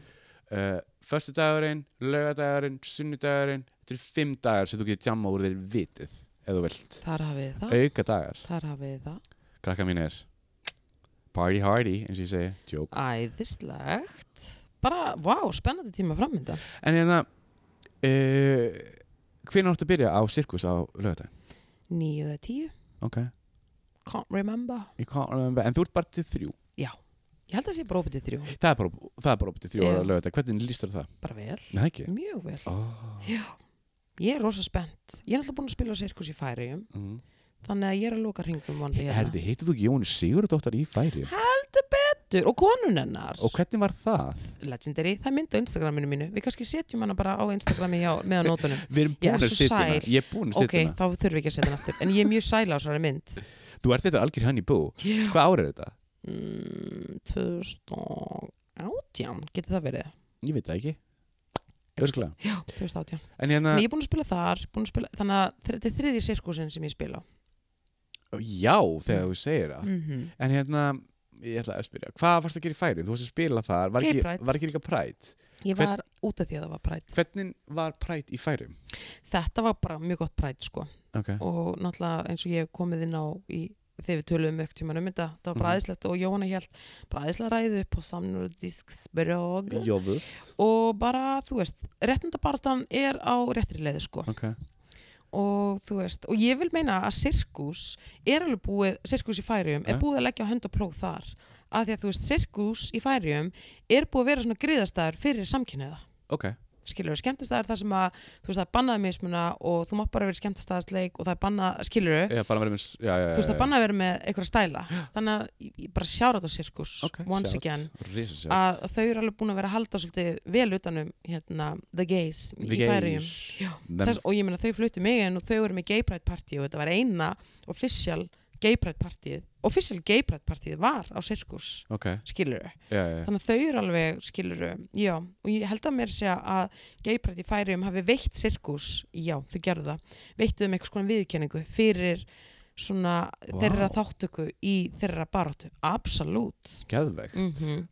S2: uh, föstudagurinn, lögadagurinn, sunnudagurinn, þetta er fimm dagar sem þú getur djama úr þeir vitið, ef þú vilt.
S1: þar hafið þið það
S2: auka dagar,
S1: Þar hafið þið það
S2: krakka mínir Party hardy, eins og ég segi, joke
S1: Æðislegt. Bara, vá, spennandi tíma framönda.
S2: En hérna uh, Hvenær áttu að byrja á sirkus á lögatæn?
S1: Níu eða tíu.
S2: Ok,
S1: Can't remember.
S2: ég can't remember En þú ert bara til þrjú
S1: Ég held að það sé bara opið til þrjú.
S2: Það er bara, það er bara upp til þrjú
S1: Já.
S2: á lögatæn Hvernig lístur það?
S1: Bara vel.
S2: Nei, ekki
S1: Mjög vel.
S2: oh.
S1: Ég er rosa spennt. Ég er alltaf búin að spila á sirkus í færiðum.
S2: mm.
S1: Þannig að ég er að loka hringnum hérna. vandi
S2: Herði, heitir þú ekki Jóni Sigurðardóttar í færi?
S1: Heldur betur. Og konun hennar.
S2: Og hvernig var það?
S1: Legendary. Það er mynd á Instagraminu mínu. Við kannski setjum hana bara á Instagrami hjá, með á nótunum.
S2: Við erum
S1: Ég er
S2: búin að hérna.
S1: svo
S2: setja hana
S1: sæl.
S2: Ég er búin að
S1: ok,
S2: setja hana
S1: þá þurfum við ekki að setja hann aftur. En ég er mjög sæla á þessari mynd.
S2: Þú ert þetta algjör hann í bú
S1: Já.
S2: Hvað ár er þetta?
S1: Mm, 2018, getur það verið?
S2: Ég veit það ekki Örgulega
S1: Já, 2018.
S2: En hérna,
S1: En ég er búin að spila þar, búin að spila, þannig að þr- þetta er þriðji sirkusin sem ég spila.
S2: já, þegar þú segir það
S1: Mm -hmm.
S2: En hérna, ég ætla að spyrja Hvað varst að gera í færi? Þú varst að spila þar Var
S1: Gay
S2: ekki,
S1: Pride.
S2: var ekki líka præt?
S1: Ég
S2: Hvern-
S1: var út af því að það var prætt.
S2: Hvernig var præt í færi?
S1: Þetta var bara mjög gott prætt, sko.
S2: Ok
S1: Og náttúrulega eins og ég hef komið inn á í þegar við töluðum ökt tíma um þetta, það var
S2: Mhm.
S1: bræðislegt og Jóhanna held bræðislega ræðu upp á samnúrdisksbrög
S2: Jóðust
S1: og bara, þú veist, réttindabartan er á réttri leiði, sko.
S2: Ok
S1: og þú veist, og ég vil meina að sirkus er alveg búið, sirkus í færium
S2: Ja.
S1: er búið að leggja á hönd og plóð þar af því að þú veist, sirkus í færium er búið að vera svona griðastæður fyrir samkynniða
S2: Ok
S1: Eh? skilur við skemmtistæður þar sem að þú veist, það er bannað mismuna og þú mátt bara vera skemmtistæðasleik og það er bannað, skilur við
S2: Já, bara verið með já, já, já,
S1: þú veist, það
S2: já.
S1: er bannað að vera með einhverja stæla þannig að ég- ég bara sjára þetta sirkus
S2: Ok,
S1: once
S2: shout.
S1: again
S2: Risa shout.
S1: að þau eru alveg búin að vera að halda svolítið vel utanum hérna, the gays
S2: The
S1: í færium
S2: gays.
S1: Já,
S2: Them-
S1: Þess, og ég meina þau fluttu mig en og þau eru með gay pride party og þetta var eina official gay pride partyið official gay pride partyið var á sirkus
S2: Ok,
S1: skiluru,
S2: já, já, já.
S1: þannig að þau eru alveg skiluru, já, og ég held að mér segja að gay pride í færium hafi veitt sirkus, já, þau gerðu það veittu þeim eitthvað viðkenningu fyrir svona
S2: Vá.
S1: þeirra þáttöku í þeirra baróttu, absolutt
S2: Geðvegt
S1: mm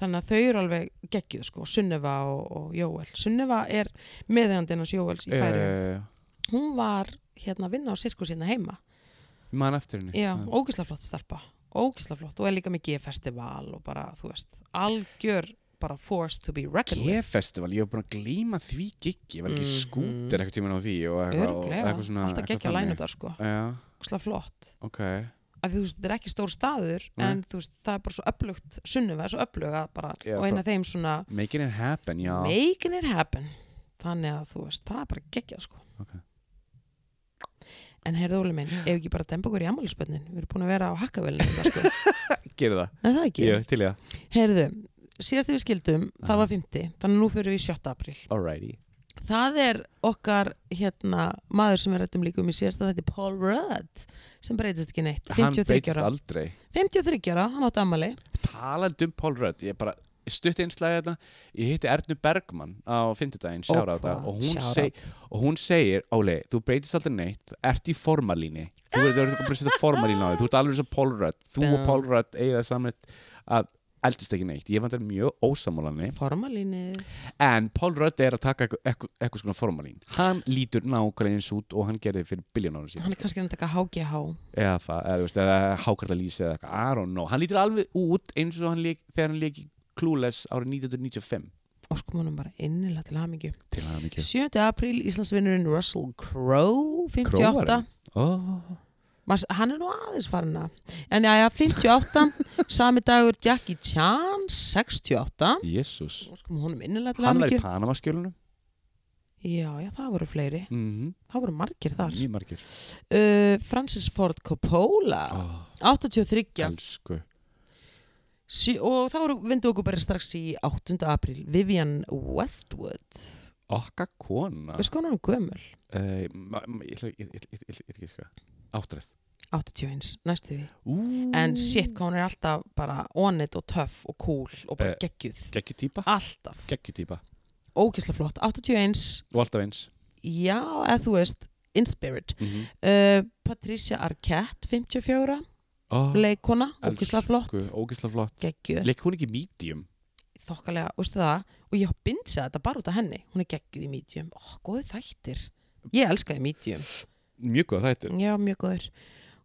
S1: þannig að þau eru alveg geggjuð sko, Sunneva og, og Jóel Sunneva er meðeigandinn hans Jóels í
S2: Já,
S1: færium
S2: já, já, já.
S1: hún var hérna að vinna á sirkus hérna heima
S2: Ég Man eftir henni
S1: já, ógislega flott starpa ógislega flott og er líka með G-festival og bara, þú veist, algjör bara force to be reckoned with
S2: G-festival, ég hef búin að glíma því giggi var ekki
S1: Mhm.
S2: skútir eitthvað tíma á því og eitthvað, og
S1: örglega,
S2: eitthvað svona
S1: alltaf
S2: eitthvað
S1: geggja
S2: þannig.
S1: lænum þar sko,
S2: Já,
S1: ógislega flott
S2: ok,
S1: af því þú veist, þetta er ekki stór staður
S2: Nei.
S1: en þú veist, það er bara svo upplugt sunnuva, svo uppluga bara,
S2: Já,
S1: og eina af þeim svona
S2: making it happen, já
S1: making it happen þannig að þú veist, það er bara geggjað sko
S2: Ok.
S1: en heyrðu Óli minn, ef ekki bara dempa okkur í ammálspönnin við erum búin að vera á hakkavælinu sko.
S2: Gerðu það,
S1: en það ekki,
S2: ég til ég
S1: Heyrðu, síðast við skildum,
S2: Aha.
S1: það var 50, þannig að nú fyrir við í 7. apríl.
S2: það Alrighty
S1: Það er okkar, hérna, maður sem við rættum líka um í síðasta, þetta er Paul Rudd, sem breytist ekki neitt,
S2: Hann
S1: 53
S2: breytist
S1: ára.
S2: aldrei
S1: 53 ára, hann átti ammali.
S2: Talandi um Paul Rudd, ég bara stutt einslæði þetta Ég hitti Ernu Bergmann á fimmtudaginn, sjára á þetta og hún, seg, og hún segir, Óli, þú breytist aldrei neitt þú ert í formalíni þú ert þú ert bara að setja formalínu á þig, þú ert alveg svo Paul Rudd þú og
S1: Bum.
S2: Paul Rudd eiga það saman að eldist ekki neitt, ég vantar mjög ósamálani
S1: Formalínu.
S2: en Paul Rudd er að taka eitthvað- eitthvað eitthvað svona formalín hann lítur nákvæmlega eins út og hann gerði fyrir biljón ára síðan
S1: Hann er kannski að taka HGH.
S2: eða það, eða, þú veist, eða hákarta eða eitthvað, I don't know, hann lítur alveg út eins og hann leik, þegar hann leik klúles árið 1995
S1: Óskum honum bara innilega til hamingju.
S2: til hann mikið
S1: 7. apríl, Íslandsvinnurinn Russell Crowe, 58.
S2: Króarinn? oh,
S1: Mas, hann er nú aðeins farin að en já, 58, sami dagur Jackie Chan, 68
S2: jésús
S1: og sko húnum innilega til
S2: hann var í
S1: aðmyggju
S2: Panamaskjölunum
S1: já, já, það voru fleiri,
S2: mm
S1: það voru margir þar
S2: mjög margir
S1: uh, Francis Ford Coppola
S2: oh.
S1: 83
S2: Elsku
S1: sí, og þá voru vindu okkur bara strax í 8. apríl, Vivian Westwood
S2: Okka kona
S1: við sko hann er gömul
S2: Eh, ma- ma- Ég ætla ég- ég- ég- ég- ég- ekki sko Áttræð
S1: 81, næstu því
S2: Ú,
S1: en shit, hvað hún er alltaf bara on it og töff og cool og bara
S2: Eh.
S1: geggjuð
S2: Gekkju
S1: Ah.
S2: típa
S1: alltaf,
S2: Gekkju típa
S1: ógislega flott 81
S2: Og alltaf eins
S1: Já, eða þú veist, in spirit.
S2: mm -hmm.
S1: Uh, Patricia Arquette, 54,
S2: oh,
S1: leikona, ógislega flott,
S2: Ógisla flott
S1: geggjuð,
S2: Leik hún ekki medium
S1: þokkalega, veistu það, og ég bindsa þetta bara út af henni, hún er geggjuð í medium, ó, góði þættir, ég elskaði medium,
S2: Mjög góð þættir
S1: já, mjög góður,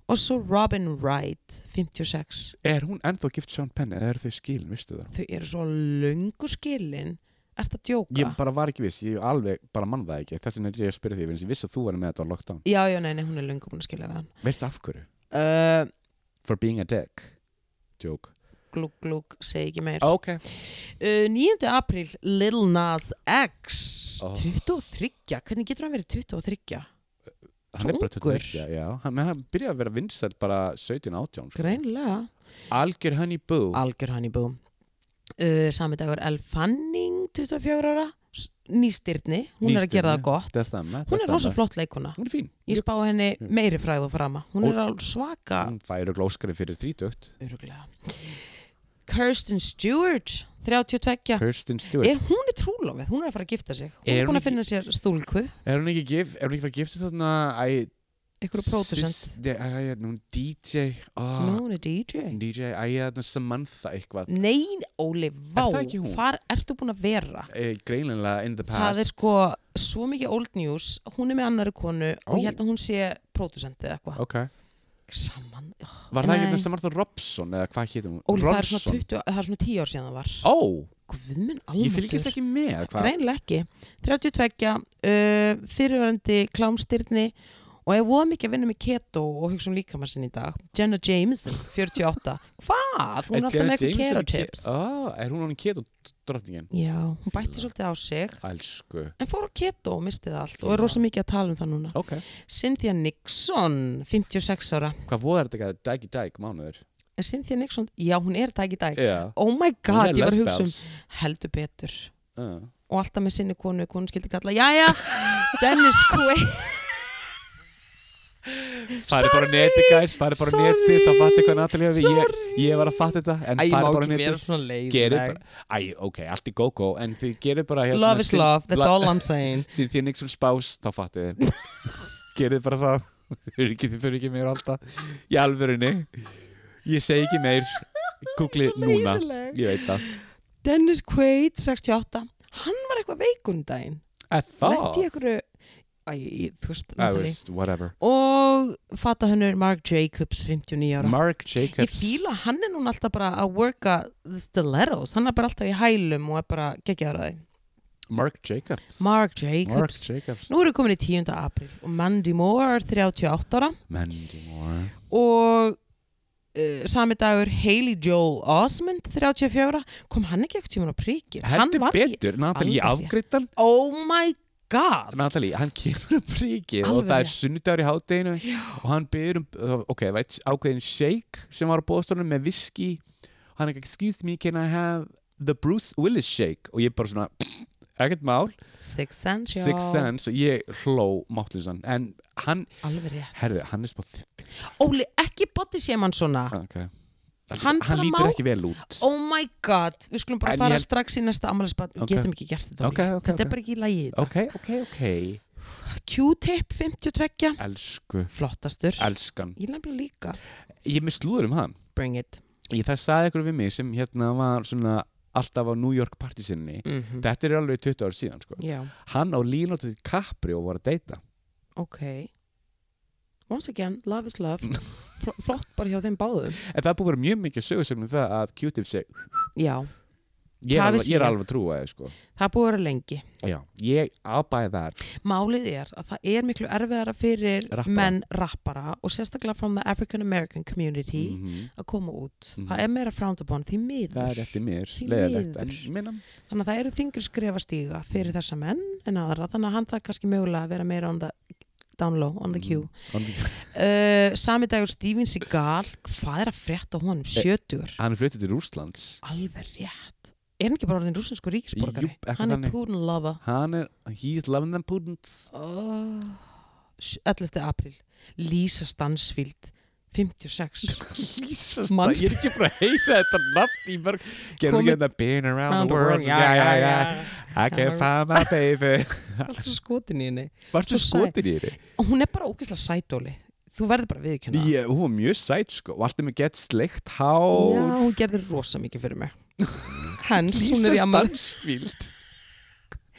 S1: og svo Robin Wright 56
S2: Er hún ennþá gift Sean Penn eða eru þau skilin, veistu það?
S1: þau eru svo löngu skilin ert að djóka
S2: Ég bara var ekki viss, ég alveg bara mann það ekki Þess vegna er ég að spyrja því, vegna þess að ég vissi að þú var með þetta á lockdown
S1: já, já, nei, nei, hún er löngu búin að skilja við hann
S2: Veistu af hverju?
S1: uh,
S2: For being a dick Joke Ah,
S1: glúk, glúk, segi ekki meir
S2: Ok
S1: uh, 9. apríl, Lil Nas X
S2: Ó.
S1: 23, hvernig getur hann verið 23?
S2: Hann er bara
S1: Ungur.
S2: 23, já Hann, menn hann byrjaði að vera vinsæl bara 17-18 sko.
S1: greinlega
S2: Algjör hann í bú
S1: algjör hann í bú uh, sami dagur Elle Fanning 24 ára, s- nýstyrni hún er að gera það
S2: Nýstirni.
S1: gott
S2: Þess það með
S1: hún er rosa flott leikuna
S2: Hún er fín
S1: ég sko- spá henni
S2: Mjög.
S1: meiri fræð og frama hún
S2: Og- Mm.
S1: er alveg svaka
S2: Hún færi glóskari fyrir 30
S1: öruglega Kirsten Stewart 32
S2: Kirsten Stewart
S1: er hún er trúlofið, hún er að fara að gifta sig hún
S2: Er
S1: er,
S2: hún
S1: búin að
S2: ekki-
S1: finna sér stúlku
S2: Er hún ekki gif Er hún ekki fara að gifta þarna Æ
S1: ykkur pródusent,
S2: Nei, æ, æ, hún DJ
S1: nú
S2: oh,
S1: hún er DJ
S2: DJ Æ, þarna Samantha eitthvað
S1: Nei, Óli, vá
S2: það ekki hún?
S1: hvar ertu búin að vera?
S2: e, Greinlega in the past
S1: það er sko svo mikið old news hún er með annari konu
S2: Ó.
S1: og ég held að hún sé pródusent eða eitthvað
S2: Ok
S1: saman, oh,
S2: Var það ekki
S1: Nei.
S2: þarna Samantha Robson Eða hvað hétum hún
S1: Óli, það er, svona
S2: Robson
S1: 20, það er svona 10 ár síðan það var
S2: Ó
S1: Guðminn
S2: Ég fylgist
S1: alveg
S2: ekki með Hvað
S1: greinlega ekki 32, uh, fyrirverandi klámstyrni og ég voða mikið að vinna með keto og hugsa um líkamann sinn í dag Jenna Jameson, 48 hvað? Hún er alltaf með eitthvað keto tips
S2: oh, Er hún honum keto drottningin
S1: já, hún bætti
S2: Fíla.
S1: svolítið á sig
S2: Elsku
S1: en fór á keto og mistið allt og
S2: Fíla.
S1: er rosa mikið að tala um það núna
S2: Ok
S1: Cynthia Nixon, 56 ára
S2: Hvað voru þetta ekki Dæk í dæk mánuður
S1: er Cynthia Nixon, já hún er dag í dag
S2: Já
S1: oh my god, ég var að hugsa um
S2: lesbels.
S1: heldur betur
S2: Uh.
S1: og alltaf með sinni konu, konu skildi kalla jæja, Dennis Quaid
S2: farið bara á neti guys, farið bara á neti
S1: Sorry.
S2: þá fattu hvað Natalie hefði, ég,
S1: Sorry.
S2: ég var að fatta þetta en
S3: Æ, ég má
S2: farið bara á
S3: ekki vera
S2: neti
S3: svona leið
S2: gerið bara, æ, ok, allt í go-go en þið gerið bara hérna
S1: love is love, that's
S2: la-
S1: all I'm saying
S2: síðan því Nixon um spás, þá fattu þið gerið bara það þið fyrir ekki, þið fyrir ekki meir alltaf í alvörunni, ég segi ekki meir googlið
S1: Svo
S2: núna
S1: leiðinleg.
S2: ég veit það,
S1: Dennis Quaid, 68 hann var eitthvað veikun daginn
S2: eða
S1: lendi
S2: það
S1: ég einhverju Æ, ég- þú veist,
S2: I
S1: Natalie.
S2: was, whatever
S1: og fata hennur Mark Jacobs, 59 ára
S2: Mark
S1: Ég
S2: Jacobs
S1: fíla að hann er núna alltaf bara að worka the stilettos, hann er bara alltaf í hælum og er bara geggjaður að þeim
S2: Mark Jacobs
S1: Mark
S2: Mark
S1: Jacobs
S2: Jacobs
S1: Nú erum við komin í 10. april og Mandy Moore er 38 ára
S2: Mandy Moore
S1: og uh, sami dagur Haley Joel Osmond 34 kom hann ekki ekkert tíma á príkir hann
S2: heldur
S1: var í-
S2: betur, Natalie, ég
S1: Alveg rétt.
S2: afgreitt hann
S1: Oh my god
S2: Natalie, hann kemur um príkið og
S1: Alveg
S2: það er
S1: rétt.
S2: sunnudagur í hátteginu og hann byrður um, ok, það var eitt ákveðin shake sem var á bóðstólunum með viski hann er excuse me, can I have the Bruce Willis shake og ég bara svona, ekkert mál
S1: Six Sense já.
S2: Six Sense og ég hló máttlusan en hann,
S1: Alveg rétt
S2: herðu, hann er spáð
S1: Óli, ekki body séum hann svona
S2: okay.
S1: Ah. Hann bara
S2: hann, lítur
S1: má-
S2: ekki vel út
S1: Oh my god, við skulum bara
S2: En ég
S1: fara
S2: held-
S1: strax í næsta ammælisbad Við
S2: Ok.
S1: getum ekki gert þetta Óli.
S2: Ok, ok,
S1: Þetta
S2: ok.
S1: er bara ekki í lagi í dag.
S2: ok, ok, ok,
S1: Q-tip 52
S2: elsku
S1: flottastur
S2: elskan,
S1: ég nefnilega líka
S2: ég er með slúður um hann
S1: bring it
S2: ég það sagði ykkur við mig sem hérna var svona alltaf á New York partysinni
S1: mm
S2: þetta er alveg 20 ár síðan sko.
S1: já,
S2: hann og Leonardo DiCaprio voru að deyta
S1: ok once again, love is love Fl flott bara hjá þeim báðum
S2: en það er búið að vera mjög mikið sögursögnum það að Q-tip sé
S1: já,
S2: ég er,
S1: Það
S2: alveg,
S1: vissi
S2: ég er
S1: ég.
S2: alveg að trúa þið sko.
S1: það er búið að vera lengi
S2: Já, ég ábæði það
S1: málið er að það er miklu erfiðara fyrir
S2: Rappara.
S1: menn rappara og sérstaklega from the African American community
S2: Mhm.
S1: að koma út
S2: Mhm.
S1: það er meira frowned upon því miður
S2: það er eftir mér
S1: Því
S2: leiðilegt en
S1: miður.
S2: minna,
S1: þannig að það eru þingri skref að stíga fyrir þessa menn en aðra þannig að hann það kannski mögulega að vera meira on the down low,
S2: Mm.
S1: on the queue
S2: Mhm,
S1: uh, sami dagur Steven Seagal hvað er að frétta á honum,
S2: Eh,
S1: 70
S2: hann er fluttið til Rúslands
S1: alveg rétt er hann ekki bara orðin rúsinsku ríkisborgari
S2: Jú, eitthvað
S1: hann er
S2: þannig.
S1: Putin lover
S2: hann er, he's loving them pudins
S1: oh, 11. april Lisa Stansfield 56
S2: Jesus,
S1: Manstu-
S2: ég er ekki bara að heyra þetta nafn í mörg
S1: Komið-
S2: gerðu ekki þetta been around the world yeah, yeah, yeah.
S1: I'm
S2: I
S1: a-
S2: can't find my baby
S1: allt svo skotin í henni Svo
S2: varstu
S1: sæt.
S2: skotin í henni?
S1: og hún er bara ógeðslega sætóli þú verður bara að viðurkenna það.
S2: Ég, eh, hún var mjög sæt sko og alltaf með gett sleikt
S1: já,
S2: hár
S1: hún gerði rosa mikið fyrir mig hens, hún
S2: Lisa
S1: er í ammali
S2: Stansfield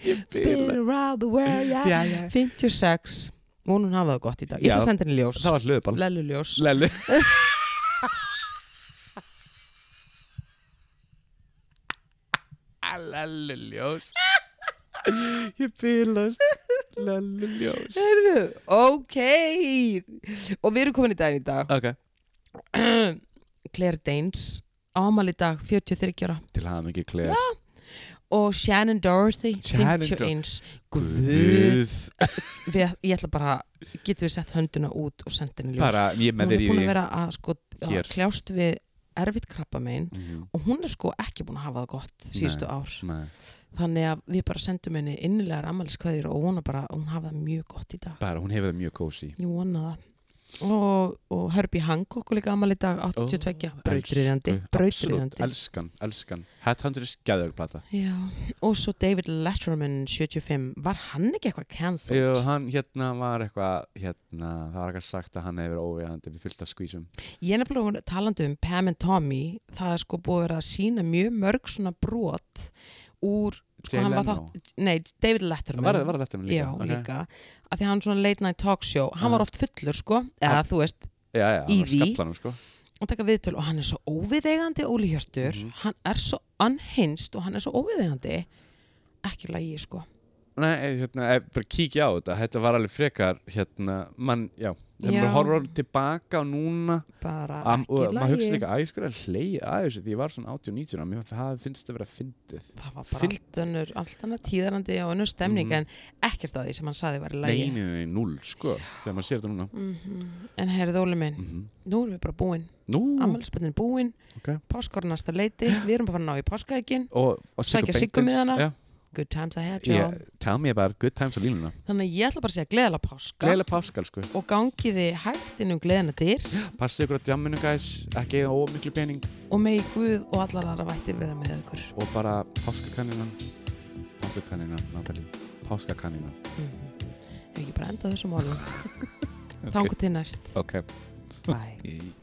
S2: Ég
S1: Been
S2: byrla
S1: around the world, yeah.
S2: Já, já
S1: 56 vonun hafa það gott í dag, ég
S2: Já.
S1: ætla að senda henni ljós
S2: það var hlöðball
S1: lellu ljós
S2: Lellu Lellu ljós Ég bylast Lellu ljós
S1: Heyrðu, ok og við erum komin í daginn í dag
S2: Ok
S1: Claire Danes ámali dag 43 ára
S2: Til hafa mikið klær
S1: og Shannon Dorothy
S2: Shannon
S1: 51 Guð við, ég ætla bara, getum við sett hönduna út og senda henni ljós
S2: Bara ég
S1: hún er
S2: með þér í
S1: búin
S2: því
S1: að vera að, sko, að
S2: Hér.
S1: kljást við erfitt krabba megin
S2: Mhm.
S1: og hún er sko ekki búin að hafa það gott síðustu ár
S2: Nei,
S1: þannig að við bara sendum henni innilegar ammæliskveðir og vona bara að hún hafa það mjög gott í dag
S2: Bara hún hefur það mjög kósi
S1: ég vona það og, og Herbie Hancock er líka ammæli í dag 82, oh, brautriðandi brautriðandi
S2: Elskan, elskan Headhunter er skæðugur plata
S1: Já, og svo David Letterman 75, var hann ekki eitthvað cancelled?
S2: Jú, hann hérna var eitthvað hérna, það var eitthvað sagt að hann hefur óvegandi við fyllt að skvísum
S1: Ég er nefnilega hún- talandi um Pam and Tommy, það er sko búið að vera að sína mjög mörg svona brot úr, sko
S2: Jay
S1: hann var
S2: Leno.
S1: þátt, nei, David Letterman.
S2: Var það þetta með líka?
S1: Já,
S2: Ok.
S1: líka. Af því að hann svona late night talk show, hann
S2: Já.
S1: var oft fullur sko, eða þú veist,
S2: já, já,
S1: Í
S2: hann var
S1: því.
S2: skallanum sko
S1: og taka viðtöl og hann er svo óviðeigandi Óli Hjörstur,
S2: Mhm.
S1: hann er svo unhinged og hann er svo óviðeigandi, ekki lægi sko.
S2: Nei, eh, hérna, eh, bara kíkja á þetta þetta var alveg frekar, hérna mann, já, þegar
S1: Já.
S2: maður horfður núna núna
S1: Bara
S2: am,
S1: ekki
S2: og maður hugsa
S1: lægi.
S2: líka, að ég skur að hleyja að þessu því ég var svona 80-90 mér það finnst þetta að vera fyndið
S1: Það var bara
S2: fyllt-
S1: allt önnur, allt annað tíðarandi og önnur stemning
S2: Mhm.
S1: en ekkert að því sem hann saði var í lægi.
S2: Nei, nei, nei, núl, sko, þegar maður sér þetta núna
S1: Mm En heyrðu Óli minn,
S2: mm
S1: nú erum við bara búin
S2: Nú,
S1: ammælispennin búin,
S2: ok
S1: páskorinn næsta leiti við erum bara að ná í páskaegin
S2: og, og
S1: Sækja Siggu með hana. good times I had,
S2: yeah.
S1: yeah.
S2: Tell me about good times á línuna
S1: þannig að ég ætla bara að segja gleðala páska
S2: Gleðilega páskal, sko
S1: og gangi þið hægt inn um gleðina dyr
S2: Passið ykkur á djamminu, guys Ekki eða ómiklu pening
S1: og megi Guð og allar aðra vættir vera með ykkur
S2: Og bara páskakanínan Páskakanínan, Natalie Páskakanínan
S1: mm. ekki bara enda á þessum orðum
S2: Ok.
S1: þangu til næst,
S2: Ok
S1: bye
S2: Í-